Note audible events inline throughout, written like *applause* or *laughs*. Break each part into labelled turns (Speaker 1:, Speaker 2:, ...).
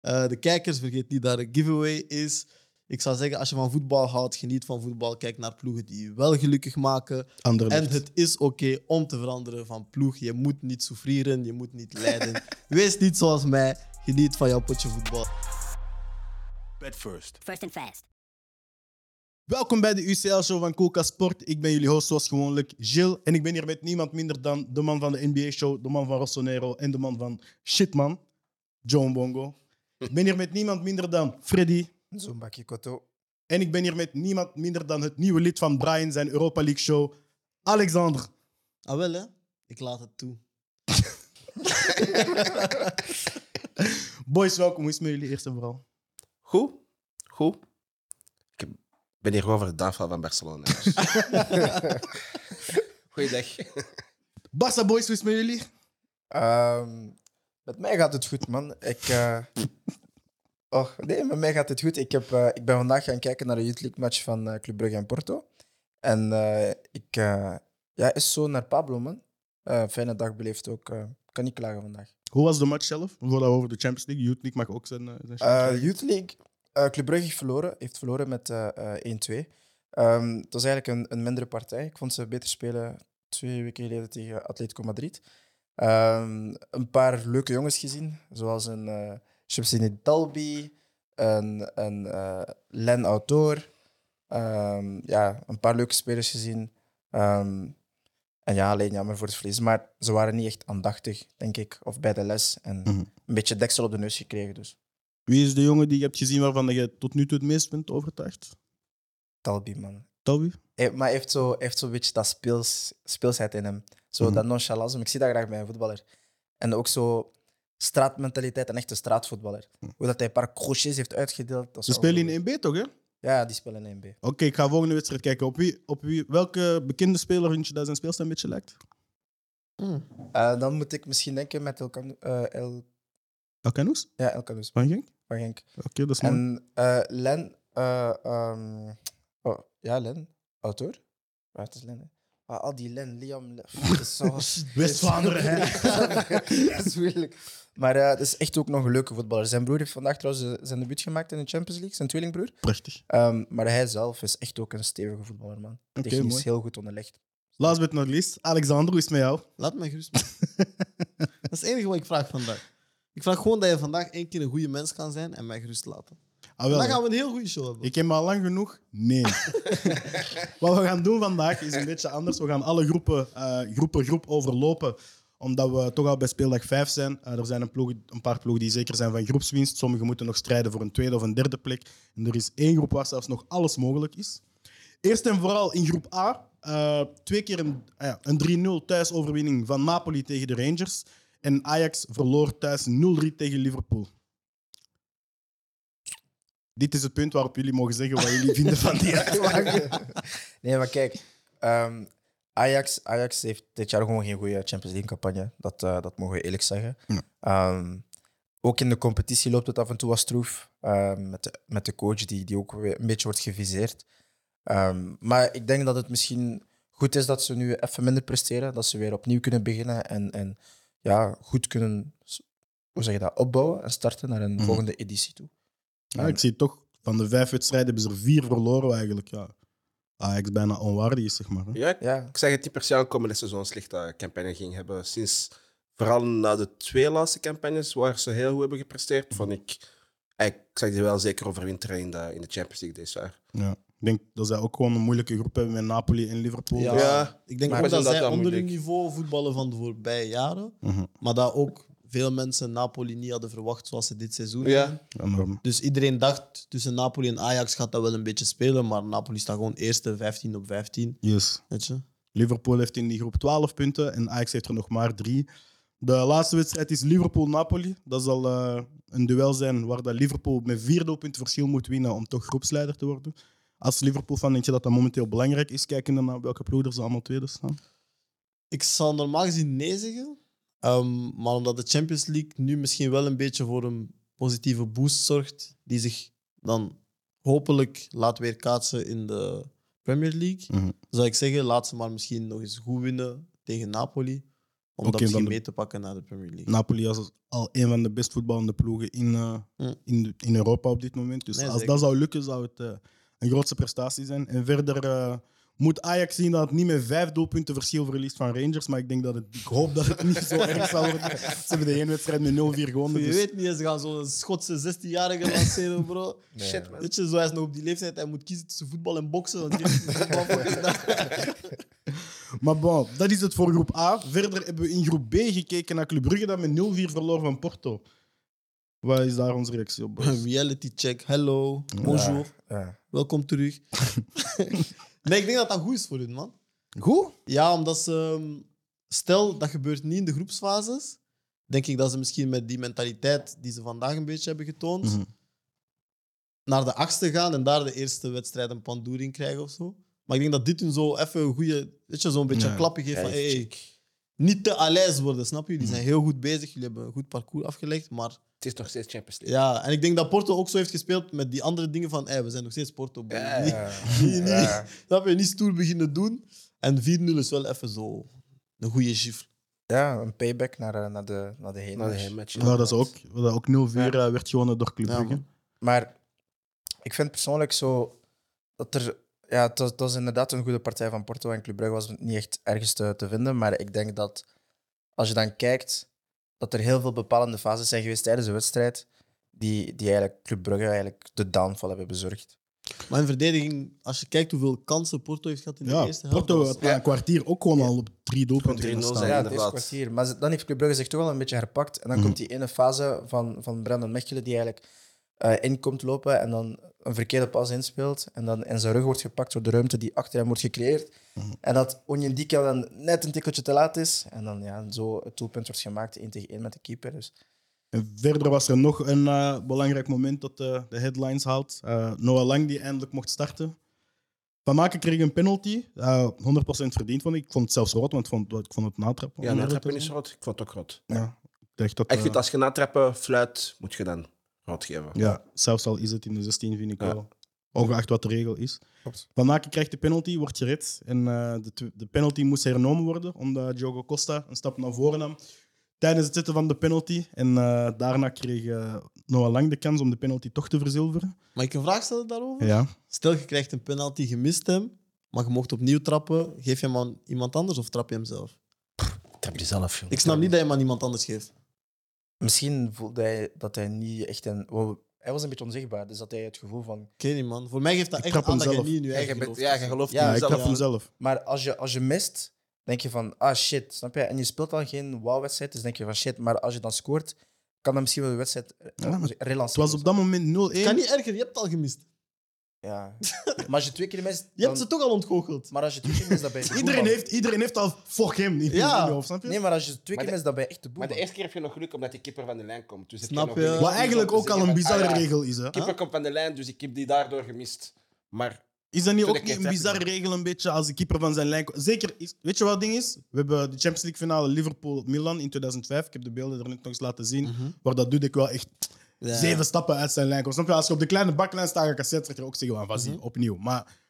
Speaker 1: Eh, de kijkers, vergeet niet dat er een giveaway is. Ik zou zeggen, als je van voetbal houdt, geniet van voetbal. Kijk naar ploegen die je wel gelukkig maken.
Speaker 2: Anderlecht.
Speaker 1: En het is oké om te veranderen van ploeg. Je moet niet souffreren, je moet niet
Speaker 2: *laughs*
Speaker 1: lijden. Wees niet zoals mij. Geniet van jouw potje voetbal.
Speaker 3: Bet first.
Speaker 4: First and fast.
Speaker 2: Welkom bij de UCL-show van Coca Sport. Ik ben jullie host zoals gewoonlijk, Gilles. En ik ben hier met niemand minder dan de man van de NBA-show, de man van Rossonero en de man van Shitman, John Bongo. Ik ben hier met niemand minder dan Freddy.
Speaker 5: Zo'n bakje koto.
Speaker 2: En ik ben hier met niemand minder dan het nieuwe lid van Brian, zijn Europa League-show, Alexander.
Speaker 1: Ah wel hè? Ik laat het toe.
Speaker 2: Boys, welkom. Hoe is het met jullie eerst en vooral?
Speaker 6: Goed. Goed. Ik ben hier gewoon voor de DAFA van *laughs* Barcelona. dus. Goeiedag.
Speaker 2: Barça Boys, hoe is het met jullie?
Speaker 5: Ehm, met mij gaat het goed, man. Ik, eh, oh, nee, met mij gaat het goed. Ik, heb, eh, ik ben vandaag gaan kijken naar de Youth League match van eh, Club Brugge en Porto. En eh, ik eh, ja, is zo naar Pablo, man. Eh, fijne dag beleefd ook. eh. kan niet klagen vandaag.
Speaker 2: Hoe was de match zelf? Voordat we over de Champions League, Youth League mag ook zijn. eh, zijn
Speaker 5: Eh,
Speaker 2: Champions League.
Speaker 5: Youth League, eh, Club Brugge heeft verloren, heeft verloren met eh, eh, 1-2. Ehm, het was eigenlijk een, een mindere partij. Ik vond ze beter spelen twee weken geleden tegen Atletico Madrid. Ehm, een paar leuke jongens gezien, zoals een eh Shamsini Dalby, een, een eh, Len Autor. Ehm, ja, een paar leuke spelers gezien. Ehm, en ja, alleen jammer voor het verlies. Maar ze waren niet echt aandachtig, denk ik, of bij de les. En
Speaker 2: Mhm.
Speaker 5: een beetje deksel op de neus gekregen, dus.
Speaker 2: Wie is de jongen die je hebt gezien waarvan je tot nu toe het meest bent overtuigd?
Speaker 5: Talbi, man.
Speaker 2: Talbi?
Speaker 5: Hij- maar hij heeft zo'n zo hij heeft zo'n beetje dat speels, speelsheid in hem. Zo
Speaker 2: Mhm.
Speaker 5: dat nonchalance. Maar Ik zie dat graag bij een voetballer. En ook zo straatmentaliteit, een echte straatvoetballer. Hoe dat hij een paar crochets heeft uitgedeeld. Dat
Speaker 2: Ze Mhm. spelen in 1B toch, hè? Oké,
Speaker 5: Ja, die spelen in 1B.
Speaker 2: ik ga volgende wedstrijd kijken. Op wie, op wie, welke bekende speler vind je dat zijn speelstijl een beetje lijkt?
Speaker 5: Eh, dan moet ik misschien denken met El, Kanu- eh, El,
Speaker 2: Alcanus?
Speaker 5: ja, El Kanous
Speaker 2: Van Genk?
Speaker 5: van Genk.
Speaker 2: Oké, dat is mooi.
Speaker 5: En eh, Len... eh, ehm, oh, ja, Len. Auteur? Waar het is Len, hè? Ah, al die Len, Liam... Len- Fuck, het is zo-
Speaker 2: *laughs* West-Vlaanderen, hè?
Speaker 5: *laughs* dat is moeilijk. Maar eh, het is echt ook nog een leuke voetballer. Zijn broer heeft vandaag trouwens eh, zijn debuut gemaakt in de Champions League, zijn tweelingbroer.
Speaker 2: Prachtig.
Speaker 5: Ehm, maar hij zelf is echt ook een stevige voetballer, man.
Speaker 2: Oké,
Speaker 5: Technisch
Speaker 2: mooi.
Speaker 5: heel goed onderlegd.
Speaker 2: Last but not least, Alexander, hoe is het met jou?
Speaker 1: Laat mij gerust.
Speaker 2: *laughs*
Speaker 1: man. dat is het enige wat ik vraag vandaag. Ik vraag gewoon dat je vandaag één keer een goede mens kan zijn en mij gerust laten.
Speaker 2: Ah, wel,
Speaker 1: Dan
Speaker 2: hè.
Speaker 1: gaan we een heel goede show hebben.
Speaker 2: Ik heb me al lang genoeg?
Speaker 5: *laughs*
Speaker 2: Nee. Wat we gaan doen vandaag is een beetje anders. We gaan alle groepen, eh, groepen groep overlopen, omdat we toch al bij speeldag 5 zijn. Eh, er zijn een, ploeg, een paar ploegen die zeker zijn van groepswinst. Sommigen moeten nog strijden voor een tweede of een derde plek. En er is één groep waar zelfs nog alles mogelijk is. Eerst en vooral in groep A. eh, twee keer een, ah ja, een 3-0 thuisoverwinning van Napoli tegen de Rangers. En Ajax verloor thuis 0-3 tegen Liverpool. Dit is het punt waarop jullie mogen zeggen wat jullie vinden van die
Speaker 5: *laughs* nee, maar kijk. ehm, Ajax, Ajax heeft dit jaar gewoon geen goede Champions League-campagne. Dat, eh, dat mogen we eerlijk zeggen.
Speaker 2: Ja.
Speaker 5: Ehm, ook in de competitie loopt het af en toe wat stroef. ehm, met, de, met de coach die, die ook weer een beetje wordt geviseerd. Ehm, maar ik denk dat het misschien goed is dat ze nu even minder presteren. Dat ze weer opnieuw kunnen beginnen. En, en ja, goed kunnen s- hoe zeg je dat, opbouwen en starten naar een
Speaker 2: Mhm.
Speaker 5: volgende editie toe.
Speaker 2: Ja, ik zie toch, van de vijf wedstrijden hebben ze er vier verloren eigenlijk. Ja. Ajax bijna onwaardig is, zeg maar. hè.
Speaker 6: Ja, ik-
Speaker 5: Ja,
Speaker 6: ik zeg het die per se aankomende seizoen slechte campagne ging hebben. Sinds vooral na de twee laatste campagnes waar ze heel goed hebben gepresteerd, vond ik. eh, Ik zag die wel zeker overwinteren in de, in de Champions League dit jaar.
Speaker 2: Ja. Ik denk dat zij ook gewoon een moeilijke groep hebben met Napoli en Liverpool.
Speaker 1: Ja,
Speaker 6: Ja,
Speaker 1: ik denk
Speaker 6: maar
Speaker 1: ook
Speaker 6: is
Speaker 1: dat
Speaker 6: dat
Speaker 1: zij
Speaker 6: dan
Speaker 1: onder hun
Speaker 6: moeilijk?
Speaker 1: niveau voetballen van de voorbije jaren.
Speaker 2: Mhm.
Speaker 1: Maar dat ook veel mensen Napoli niet hadden verwacht zoals ze dit seizoen
Speaker 6: Ja.
Speaker 1: hebben.
Speaker 2: Enorm.
Speaker 1: Dus iedereen dacht tussen Napoli en Ajax gaat dat wel een beetje spelen. Maar Napoli staat gewoon eerste 15 op 15.
Speaker 2: Yes.
Speaker 1: Weet je?
Speaker 2: Liverpool heeft in die groep 12 punten en Ajax heeft er nog maar drie. De laatste wedstrijd is Liverpool-Napoli. Dat zal eh, een duel zijn waar dat Liverpool met vier doelpunten verschil moet winnen om toch groepsleider te worden. Als Liverpool van denk je dat dat momenteel belangrijk is, kijkende naar welke ploeg er ze allemaal tweede staan.
Speaker 1: Ik zou normaal gezien nee zeggen. Ehm, maar omdat de Champions League nu misschien wel een beetje voor een positieve boost zorgt, die zich dan hopelijk laat weer kaatsen in de Premier League,
Speaker 2: Mhm.
Speaker 1: zou ik zeggen, laat ze maar misschien nog eens goed winnen tegen Napoli. om
Speaker 2: Oké, Nou,
Speaker 1: dat misschien
Speaker 2: van de-
Speaker 1: mee te pakken naar de Premier League.
Speaker 2: Napoli is al een van de best voetballende ploegen in, eh,
Speaker 1: Mm.
Speaker 2: in, de- in Europa op dit moment. Dus
Speaker 1: Nee,
Speaker 2: als
Speaker 1: zeker.
Speaker 2: dat zou lukken, zou het eh, een grootste prestatie zijn. En verder eh, moet Ajax zien dat het niet met vijf doelpunten verschil verliest van Rangers. Maar ik, denk dat het, ik hoop dat het niet zo erg zal worden. Ze hebben de één wedstrijd met 0-4 gewonnen.
Speaker 1: je
Speaker 2: dus-
Speaker 1: weet niet, eens, ze gaan zo'n Schotse 16-jarige lanceren, bro.
Speaker 6: Shit, man.
Speaker 1: Weet je, zo hij is nog op die leeftijd, hij moet kiezen tussen voetbal en boksen. Want die heeft niet voetbal voor gedaan.
Speaker 2: Maar bon, dat is het voor groep A. Verder hebben we in groep B gekeken naar Club Brugge dat met 0-4 verloor van Porto. Wat is daar onze reactie op? boys?
Speaker 1: Reality check, hello, bonjour,
Speaker 2: *laughs*
Speaker 5: Ja.
Speaker 1: welkom terug. nee, ik denk dat dat goed is voor hun, man.
Speaker 2: Goed?
Speaker 1: Ja, omdat ze... ehm, Stel, dat gebeurt niet in de groepsfases. Denk ik dat ze misschien met die mentaliteit die ze vandaag een beetje hebben getoond,
Speaker 2: Mhm.
Speaker 1: naar de achtste gaan en daar de eerste wedstrijd een pandoering krijgen of zo. Maar ik denk dat dit hun zo even een goede... Weet je, zo'n beetje
Speaker 2: Ja.
Speaker 1: een klappen geeft van...
Speaker 6: Ja,
Speaker 1: Hey,
Speaker 6: check.
Speaker 1: niet te alijs worden, snap je? Die
Speaker 2: Mhm.
Speaker 1: zijn heel goed bezig, jullie hebben een goed parcours afgelegd, maar...
Speaker 6: Het is nog steeds Champions League.
Speaker 1: Ja, en ik denk dat Porto ook zo heeft gespeeld met die andere dingen van, hey, we zijn nog steeds Porto. bro."
Speaker 6: Ja,
Speaker 1: *laughs* Niet-
Speaker 5: Ja.
Speaker 1: niet- niet-
Speaker 5: Ja.
Speaker 1: Dat we niet stoer beginnen doen. En 4-0 is wel even zo een goede chiffre.
Speaker 5: Ja, een payback naar, eh, naar de, naar de heen.
Speaker 6: Na de heenmatch.
Speaker 2: Maar dat is ook, dat ook 0-4 eh, werd gewonnen door Club
Speaker 1: Ja,
Speaker 2: Brugge.
Speaker 1: man.
Speaker 5: Maar ik vind persoonlijk zo dat er. Ja, het was, het was inderdaad een goede partij van Porto en Club Brugge was niet echt ergens te, te vinden. Maar ik denk dat als je dan kijkt, dat er heel veel bepalende fases zijn geweest tijdens de wedstrijd. Die, die eigenlijk Club Brugge eigenlijk de downfall hebben bezorgd.
Speaker 1: Maar in verdediging, als je kijkt hoeveel kansen Porto heeft gehad in de
Speaker 2: ja,
Speaker 1: eerste helft.
Speaker 2: Porto
Speaker 1: dat
Speaker 2: had
Speaker 1: was-
Speaker 2: na een kwartier ook gewoon al op drie doelpunten
Speaker 6: 3-0
Speaker 2: kunnen staan.
Speaker 6: zijn. Ja,
Speaker 5: Ja, het eerste
Speaker 6: inderdaad.
Speaker 5: kwartier. Maar ze- dan heeft Club Brugge zich toch wel een beetje herpakt. En dan
Speaker 2: Mhm.
Speaker 5: komt die ene fase van, van Brandon Mechelen die eigenlijk eh, in komt lopen en dan een verkeerde pas inspeelt. En dan in zijn rug wordt gepakt door de ruimte die achter hem wordt gecreëerd.
Speaker 6: Mhm.
Speaker 5: En dat Onyendika dan net een tikkeltje te laat is. En dan ja, zo het doelpunt wordt gemaakt, één tegen één met de keeper. Dus
Speaker 2: En verder was er nog een eh, belangrijk moment dat eh, de headlines haalt. Eh, Noah Lang die eindelijk mocht starten. Van Maken kreeg een penalty. eh 100% verdiend vond ik. Ik vond het zelfs rood, want ik vond, ik vond het natrappen.
Speaker 6: Ja, natrappen is rood. Ik vond het ook rood.
Speaker 2: Ja. Ik dacht dat,
Speaker 6: Ik
Speaker 2: eh,
Speaker 6: vind als je natrappen fluit, moet je dan rood geven.
Speaker 2: Ja, zelfs al is het in de 16, vind ik
Speaker 6: Ja.
Speaker 2: wel. Ongeacht wat de regel is.
Speaker 5: Klopt.
Speaker 2: Van Aken krijgt de penalty, wordt gered. En eh, de, tw- de penalty moest hernomen worden, omdat Diogo Costa een stap naar voren nam. Tijdens het zetten van de penalty. En eh, daarna kreeg eh, Noah Lang de kans om de penalty toch te verzilveren. Dus
Speaker 1: Mag ik een vraag stellen daarover?
Speaker 2: Ja.
Speaker 1: Stel, je krijgt een penalty, je mist hem, maar je mocht opnieuw trappen. Geef je hem aan iemand anders of trap je hem zelf?
Speaker 6: Ik heb die zelf, jongen.
Speaker 1: Ik snap niet dat je hem aan iemand anders geeft.
Speaker 5: misschien voelde hij dat hij niet echt een. wow, hij was een beetje onzichtbaar, dus dat hij het gevoel van.
Speaker 1: Ik weet niet, man. Voor mij geeft dat
Speaker 2: Ik
Speaker 1: echt
Speaker 2: trap
Speaker 1: aan
Speaker 2: hem
Speaker 1: dat je
Speaker 2: zelf.
Speaker 1: niet in je
Speaker 6: Ja, je
Speaker 1: eigen
Speaker 6: bent-
Speaker 1: gelooft.
Speaker 6: ja, je gelooft
Speaker 5: Ja,
Speaker 6: in
Speaker 2: Ja, ik
Speaker 6: jezelf.
Speaker 2: trap hem zelf.
Speaker 5: Maar als je, als je mist, denk je van, ah shit, snap je? En je speelt dan geen wow-wedstrijd, dus denk je van shit. Maar als je dan scoort, kan dan misschien wel de wedstrijd eh,
Speaker 2: Ja, maar
Speaker 5: relanceren.
Speaker 2: Het was op dat moment 0-1.
Speaker 1: Het kan niet erger, je hebt het al gemist.
Speaker 5: Ja. *laughs* Maar als je twee keer mist,
Speaker 1: Je hebt ze
Speaker 5: dan-
Speaker 1: toch al ontgoocheld.
Speaker 5: maar als je twee keer
Speaker 2: *laughs*
Speaker 5: mist, dan ben je de
Speaker 2: Iedereen,
Speaker 5: boeman.
Speaker 2: heeft, iedereen heeft al fuck hem in
Speaker 1: Ja.
Speaker 2: in je hoofd, snap je?
Speaker 5: Nee, maar als je
Speaker 6: Maar
Speaker 5: twee keer
Speaker 6: de-
Speaker 5: mist, dan ben je echt de boeman.
Speaker 6: Maar de eerste keer heb je nog geluk omdat die keeper van de lijn komt. Dus heb
Speaker 1: Snap
Speaker 6: nog
Speaker 1: je?
Speaker 6: geluk om
Speaker 2: Wat
Speaker 6: te
Speaker 2: eigenlijk ook al
Speaker 6: zeggen
Speaker 2: een
Speaker 6: van,
Speaker 2: bizarre
Speaker 6: ah ja,
Speaker 2: regel is. Hè?
Speaker 6: De keeper komt van de lijn, dus ik heb die daardoor gemist. Maar
Speaker 2: Is dat niet
Speaker 6: Toen
Speaker 2: ook
Speaker 6: ik
Speaker 2: niet
Speaker 6: het
Speaker 2: een
Speaker 6: heb
Speaker 2: bizarre regel, een beetje als de keeper van zijn lijn? ko- Zeker, is, weet je wat het ding is? We hebben de Champions League finale Liverpool-Milan in 2005. Ik heb de beelden er net nog eens laten zien.
Speaker 1: Mhm.
Speaker 2: Waar dat Dudek wel echt
Speaker 1: Ja.
Speaker 2: zeven stappen uit zijn lijn komt. Snap je? Als je op de kleine baklijn staat, ga ik als scheidsrechter ook zeggen: van vas
Speaker 1: Mhm.
Speaker 2: opnieuw. Maar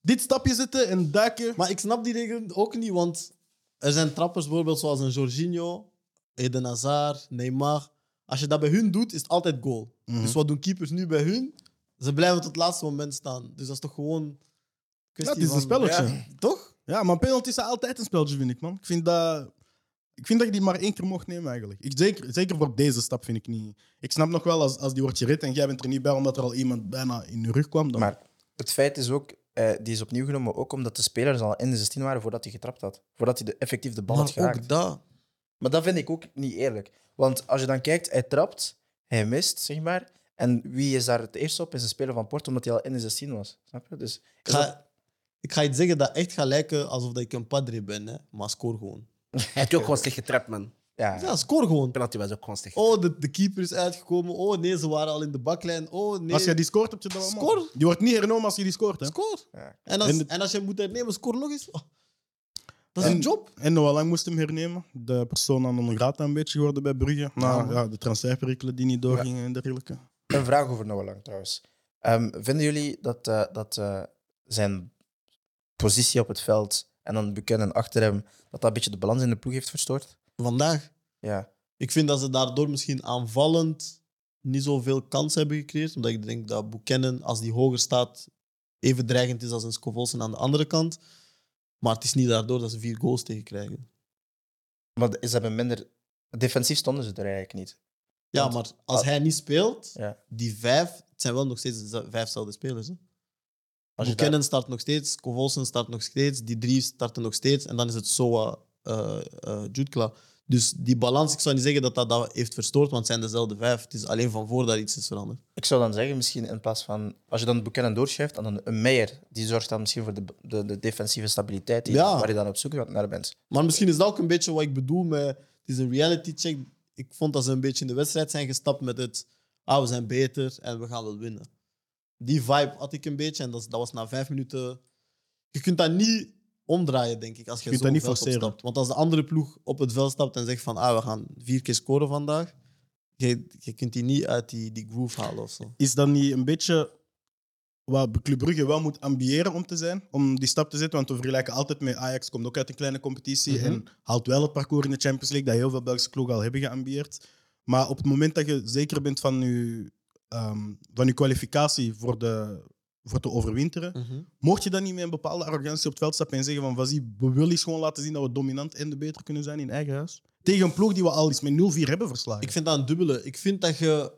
Speaker 2: dit stapje zitten en duiken.
Speaker 1: Maar ik snap die regel ook niet, want er zijn trappers bijvoorbeeld zoals een Jorginho, Eden Hazard, Neymar. Als je dat bij hun doet, is het altijd goal.
Speaker 2: Mhm.
Speaker 1: Dus wat doen keepers nu bij hun? Ze blijven tot het laatste moment staan. Dus dat is toch gewoon een
Speaker 2: Ja, het
Speaker 1: kwestie
Speaker 2: is
Speaker 1: van...
Speaker 2: een spelletje.
Speaker 6: Ja.
Speaker 1: Toch?
Speaker 2: Ja, maar penalties zijn altijd een spelletje, vind ik, man. Ik vind dat, ik vind dat je die maar één keer mocht nemen, eigenlijk. Ik, zeker, zeker voor deze stap vind ik niet. Ik snap nog wel, als, als die wordt gerit en jij bent er niet bij omdat er al iemand bijna in je rug kwam, dan...
Speaker 5: Maar het feit is ook, eh, die is opnieuw genomen, ook omdat de spelers al in de 16 waren voordat hij getrapt had. Voordat hij de, effectief de bal had
Speaker 1: maar
Speaker 5: geraakt.
Speaker 1: ook dat.
Speaker 5: Maar dat vind ik ook niet eerlijk. Want als je dan kijkt, hij trapt, hij mist, zeg maar. En wie is daar het eerst op? Is een speler van Porto, omdat hij al in de 16 was. Snap je? Dus
Speaker 1: Ik ga, ik ga iets zeggen dat echt gaat lijken alsof dat ik een padre ben, hè? maar score gewoon.
Speaker 6: hij heeft ook gewoon slecht getrapt, man.
Speaker 5: ja,
Speaker 1: Ja, score gewoon.
Speaker 6: Penalty was ook gewoon slecht.
Speaker 1: Oh, de, de keeper is uitgekomen. Oh nee, ze waren al in de baklijn. Oh nee.
Speaker 2: Als je die scoort, heb je dat allemaal.
Speaker 1: Score.
Speaker 2: Die wordt niet hernomen als je die scoort. Hè?
Speaker 1: Score.
Speaker 5: Ja.
Speaker 1: En, als,
Speaker 2: En
Speaker 1: en,
Speaker 2: de-
Speaker 1: als je moet hernemen, score nog eens. Oh. Dat is
Speaker 2: En-
Speaker 1: een job.
Speaker 2: En Noah Lang moest hem hernemen. De persoon aan non grata een beetje geworden bij Brugge. Na ja, de transferperikelen die niet doorgingen en dergelijke.
Speaker 5: een vraag over Noah Lang trouwens. Ehm, vinden jullie dat, eh, dat eh, zijn positie op het veld en dan Buchanan achter hem, dat dat een beetje de balans in de ploeg heeft verstoord?
Speaker 1: vandaag.
Speaker 5: Ja,
Speaker 1: Ik vind dat ze daardoor misschien aanvallend niet zoveel kans hebben gecreëerd. Omdat ik denk dat Buchanan, als die hoger staat, even dreigend is als een Scovolsen aan de andere kant. Maar het is niet daardoor dat ze vier goals tegen krijgen.
Speaker 5: maar ze hebben minder... Defensief stonden ze er eigenlijk niet.
Speaker 1: Ja,
Speaker 5: Want-
Speaker 1: maar als hij niet speelt,
Speaker 5: Ja.
Speaker 1: die vijf, het zijn wel nog steeds de z- vijfzelfde spelers. Hè?
Speaker 5: Als je
Speaker 1: Buchanan start nog steeds, Kovolsen start nog steeds, die drie starten nog steeds. En dan is het Soa, eh eh, Jutkla. Dus die balans, ik zou niet zeggen dat dat, dat heeft verstoord, want het zijn dezelfde vijf. Het is alleen van voor dat iets is veranderd.
Speaker 5: Ik zou dan zeggen, misschien in plaats van... Als je dan Buchanan doorschuift, dan een- een Meijer. Die zorgt dan misschien voor de, de, de defensieve stabiliteit die,
Speaker 1: Ja.
Speaker 5: waar je dan op zoek naar bent.
Speaker 1: Maar misschien is dat ook een beetje wat ik bedoel met... Het is een reality check. Ik vond dat ze een beetje in de wedstrijd zijn gestapt met het... Ah, we zijn beter en we gaan wel winnen. Die vibe had ik een beetje en dat, is- dat was na vijf minuten... Je kunt dat niet omdraaien, denk ik, als je,
Speaker 2: kunt
Speaker 1: zo het
Speaker 2: dat niet
Speaker 1: veld
Speaker 2: forceren.
Speaker 1: opstapt. Want als de andere ploeg op het veld stapt en zegt van... Ah, we gaan vier keer scoren vandaag. Je, je kunt die niet uit die, die groove halen of zo.
Speaker 2: Is dat niet een beetje wat Club Brugge wel moet ambiëren om te zijn? Om die stap te zetten, want we vergelijken altijd met Ajax, komt ook uit een kleine competitie
Speaker 1: Mhm.
Speaker 2: en haalt wel het parcours in de Champions League, dat heel veel Belgische ploegen al hebben geambieerd. Maar op het moment dat je zeker bent van je, ehm, van je kwalificatie voor, de, voor te overwinteren, mocht je dan niet met een bepaalde arrogantie op het veld stappen en zeggen van Vazie, we willen eens gewoon laten zien dat we dominant en de beter kunnen zijn in eigen huis? Tegen een ploeg die we al eens met 0-4 hebben verslagen.
Speaker 1: Ik vind dat een dubbele. Ik vind dat je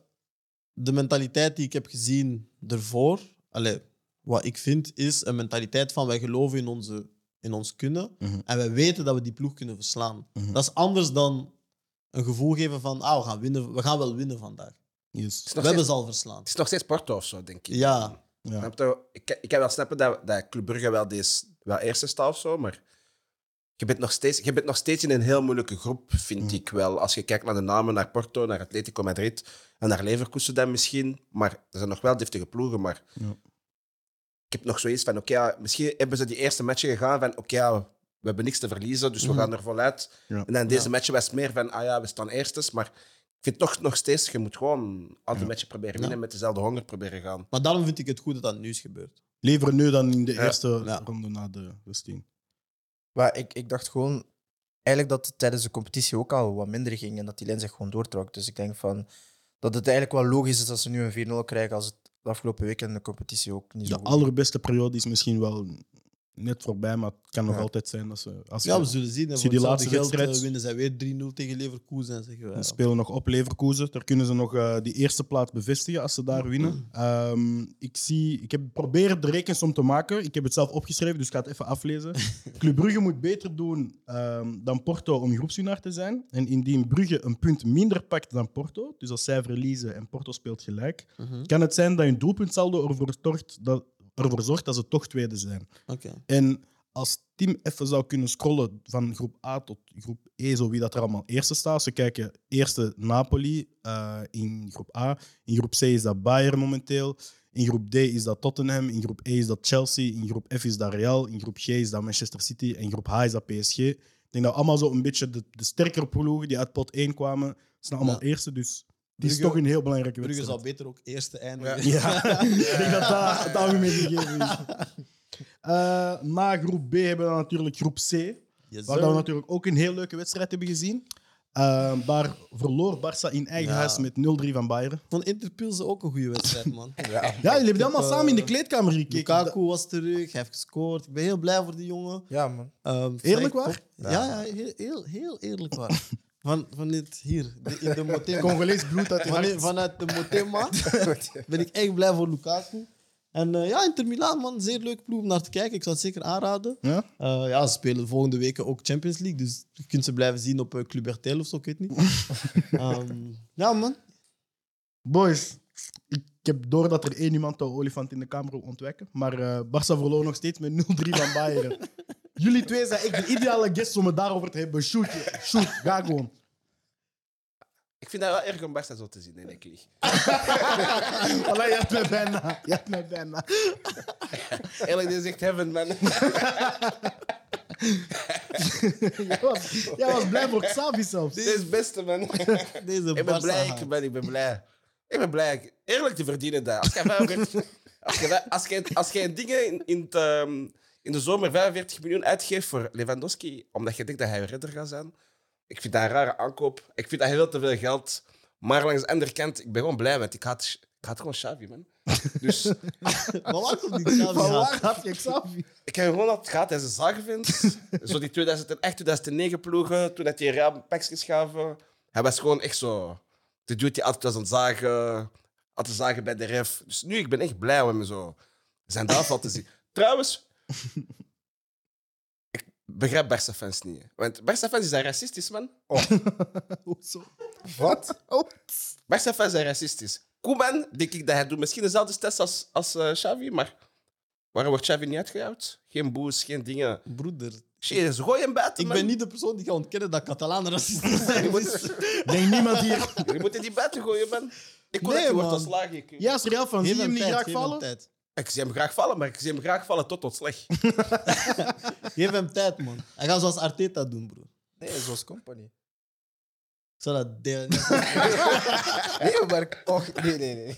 Speaker 1: de mentaliteit die ik heb gezien ervoor, allee, wat ik vind, is een mentaliteit van wij geloven in, onze, in ons kunnen
Speaker 2: Mhm.
Speaker 1: en wij weten dat we die ploeg kunnen verslaan.
Speaker 2: Mhm.
Speaker 1: Dat is anders dan een gevoel geven van ah, we, gaan winnen, we gaan wel winnen vandaag.
Speaker 2: Yes.
Speaker 1: We
Speaker 6: nog
Speaker 1: hebben
Speaker 6: steeds-
Speaker 1: ze al verslaan.
Speaker 6: Het is nog steeds Porto of zo, denk ik.
Speaker 1: Ja,
Speaker 2: Ja.
Speaker 6: Snap je? Ik, ik kan wel snappen dat, dat Club Brugge wel, deze, wel eerste staat of zo, maar je bent, nog steeds, je bent nog steeds in een heel moeilijke groep,
Speaker 2: Mm.
Speaker 6: vind ik wel. Als je kijkt naar de namen, naar Porto, naar Atletico Madrid en naar Leverkusen dan misschien. Maar er zijn nog wel deftige ploegen, maar
Speaker 2: Ja.
Speaker 6: ik heb nog zoiets van, oké, ja, misschien hebben ze die eerste matchen gegaan van, oké, ja, we hebben niks te verliezen, dus we gaan er voluit.
Speaker 2: Mm. Ja.
Speaker 6: En dan deze matchen was het meer van, ah ja, we staan eerstes, maar ik vind toch nog steeds, je moet gewoon al die matchen proberen winnen en met dezelfde honger proberen gaan.
Speaker 1: maar daarom vind ik het goed dat dat nu is gebeurd.
Speaker 2: Leveren nu dan in de
Speaker 6: Ja,
Speaker 2: eerste
Speaker 1: ja.
Speaker 2: ronde na de 16.
Speaker 5: Maar ik, ik dacht gewoon eigenlijk dat het tijdens de competitie ook al wat minder ging en dat die lijn zich gewoon doortrok. Dus ik denk van dat het eigenlijk wel logisch is dat ze nu een 4-0 krijgen als het de afgelopen weekend de competitie ook niet zo
Speaker 2: De
Speaker 5: goed ging.
Speaker 2: allerbeste periode is misschien wel net voorbij, maar het kan nog
Speaker 5: Ja.
Speaker 2: altijd zijn dat ze. Als
Speaker 1: Ja,
Speaker 2: we
Speaker 1: we zullen zien. En
Speaker 2: Zie
Speaker 1: voor hetzelfde
Speaker 2: die laatste
Speaker 1: geld, eh,
Speaker 2: wedstrijd.
Speaker 1: winnen zij weer 3-0 tegen Leverkusen en zeggen we, ja,
Speaker 2: spelen nog op Leverkusen, daar kunnen ze nog eh, die eerste plaats bevestigen als ze daar winnen. Ehm, ik, zie, ik heb proberen de rekensom te maken. Ik heb het zelf opgeschreven, dus ik ga het even aflezen. Club Brugge moet beter doen ehm, dan Porto om groepswinnaar te zijn. En indien Brugge een punt minder pakt dan Porto, dus als zij verliezen en Porto speelt gelijk,
Speaker 1: Mhm.
Speaker 2: kan het zijn dat hun doelpuntsaldo ervoor zorgt dat, ervoor zorgt dat ze toch tweede zijn.
Speaker 1: oké.
Speaker 2: En als Tim even zou kunnen scrollen van groep A tot groep E, zo wie dat er allemaal eerste staat. Ze kijken eerste Napoli eh, in groep A. In groep C is dat Bayern momenteel. In groep D is dat Tottenham. In groep E is dat Chelsea. In groep F is dat Real. In groep G is dat Manchester City. En groep H is dat PSG. Ik denk dat allemaal zo een beetje de, de sterkere ploegen die uit pot 1 kwamen, zijn allemaal
Speaker 1: Ja.
Speaker 2: eerste. Dus die is
Speaker 1: Brugge-
Speaker 2: toch een heel belangrijke
Speaker 1: Brugge
Speaker 2: wedstrijd.
Speaker 1: zou beter ook eerste eindigen.
Speaker 2: *laughs* Ja, ik denk dat dat het algemeen gegeven is. Eh, na groep B hebben we dan natuurlijk groep C.
Speaker 1: Yes,
Speaker 2: Waar
Speaker 1: sir.
Speaker 2: dat we natuurlijk ook een heel leuke wedstrijd hebben gezien. Eh, daar verloor Barça in eigen
Speaker 1: Ja.
Speaker 2: huis met 0-3 van Bayern.
Speaker 1: Ik vond Interpilsen ook een goede wedstrijd, man.
Speaker 5: Ja.
Speaker 2: Ja, jullie hebben die allemaal
Speaker 1: heb, eh,
Speaker 2: samen in de kleedkamer gekeken.
Speaker 1: Lukaku was terug, hij heeft gescoord. Ik ben heel blij voor die jongen.
Speaker 5: Ja, man.
Speaker 1: Ehm,
Speaker 2: Eerlijk
Speaker 1: Frank-
Speaker 2: waar?
Speaker 1: Ja, ja heel, heel, heel eerlijk waar. Van, van dit hier, de- in de Motema.
Speaker 2: Congolees bloed uit de
Speaker 1: Van- vanuit de Motema ben ik echt blij voor Lukaku. En eh, ja, Inter Milaan, man, zeer leuk ploeg om naar te kijken. Ik zou het zeker aanraden.
Speaker 2: Ja?
Speaker 1: Eh, ja, ze spelen volgende weken ook Champions League. Dus je kunt ze blijven zien op eh, Club Bertel of zo, ik weet niet. Ehm, ja, man.
Speaker 2: Boys, ik heb door dat er één iemand de olifant in de kamer wil ontwijken. Maar eh Barça verloor nog steeds met 0-3 van Bayern. Jullie twee zijn echt de ideale guests om het daarover te hebben. Shoot, shoot, ga gewoon.
Speaker 6: Ik vind dat wel erg om Barca zo te zien in de league.
Speaker 2: Allee, je hebt mij bijna. *laughs* Je hebt mij bijna.
Speaker 6: Eerlijk gezegd, heaven, man. *laughs*
Speaker 2: Jij was, jij was blij voor Xavi zelfs.
Speaker 6: Dit is het beste, man.
Speaker 1: Deze
Speaker 6: *laughs* Ik ben
Speaker 1: Barca
Speaker 6: blij,
Speaker 1: haat.
Speaker 6: ik ben, ik ben blij. Ik ben blij. Eerlijk te verdienen dat. Als jij 45 Als jij, als jij, als jij dingen in, in, het, ehm, in de zomer 45 miljoen uitgeeft voor Lewandowski, omdat je denkt dat hij redder gaat zijn, Ik vind dat een rare aankoop. Ik vind dat heel te veel geld. Maar langs de andere kant, ik ben gewoon blij met. Ik had, ik had gewoon Xavi, man. Dus
Speaker 1: Maar waar komt die
Speaker 2: *laughs*
Speaker 1: Xavi aan?
Speaker 2: had je Xavi?
Speaker 6: ik heb gewoon dat het gaat en ze zagen vindt. zo die 2008, 2009 ploegen, toen had hij raam pakjes gaven. Hij was gewoon echt zo. De dude die altijd was aan het zagen, had te zagen bij de ref. Dus nu, ik ben echt blij om hem zo. Zijn daarvan te zien. Trouwens, ik begrijp Barca fans niet. hè. Want Barca fans zijn racistisch, man.
Speaker 2: Hoezo?
Speaker 5: Wat?
Speaker 6: Barca fans zijn racistisch. Koeman, denk ik dat hij doet misschien dezelfde test als, als eh, Xavi, maar waarom wordt Xavi niet uitgehaald? Geen boos, geen dingen.
Speaker 1: Broeder,
Speaker 6: Jezus, gooi hem buiten.
Speaker 1: ik
Speaker 6: man.
Speaker 1: ben niet de persoon die gaat ontkennen dat Catalanen
Speaker 2: *laughs*
Speaker 1: racisten
Speaker 6: *laughs*
Speaker 1: zijn. Dus-
Speaker 2: Nee, niemand hier.
Speaker 6: Jullie moeten die buiten gooien, man. Ik kon
Speaker 1: Nee,
Speaker 6: nee, het wordt
Speaker 1: man.
Speaker 6: ontslagen. Ik,
Speaker 2: Ja, is real van. Zie
Speaker 1: Geef
Speaker 2: je
Speaker 1: hem
Speaker 2: hem niet
Speaker 1: tijd,
Speaker 2: graag
Speaker 1: geef hem
Speaker 2: vallen?
Speaker 1: tijd.
Speaker 6: ik zie hem graag vallen, maar ik zie hem graag vallen tot ontslag.
Speaker 1: Geef hem tijd, man. Hij gaat zoals Arteta doen, bro.
Speaker 5: Nee, zoals company.
Speaker 1: Ik zou dat delen.
Speaker 5: Nee, maar... Och, nee, nee, nee.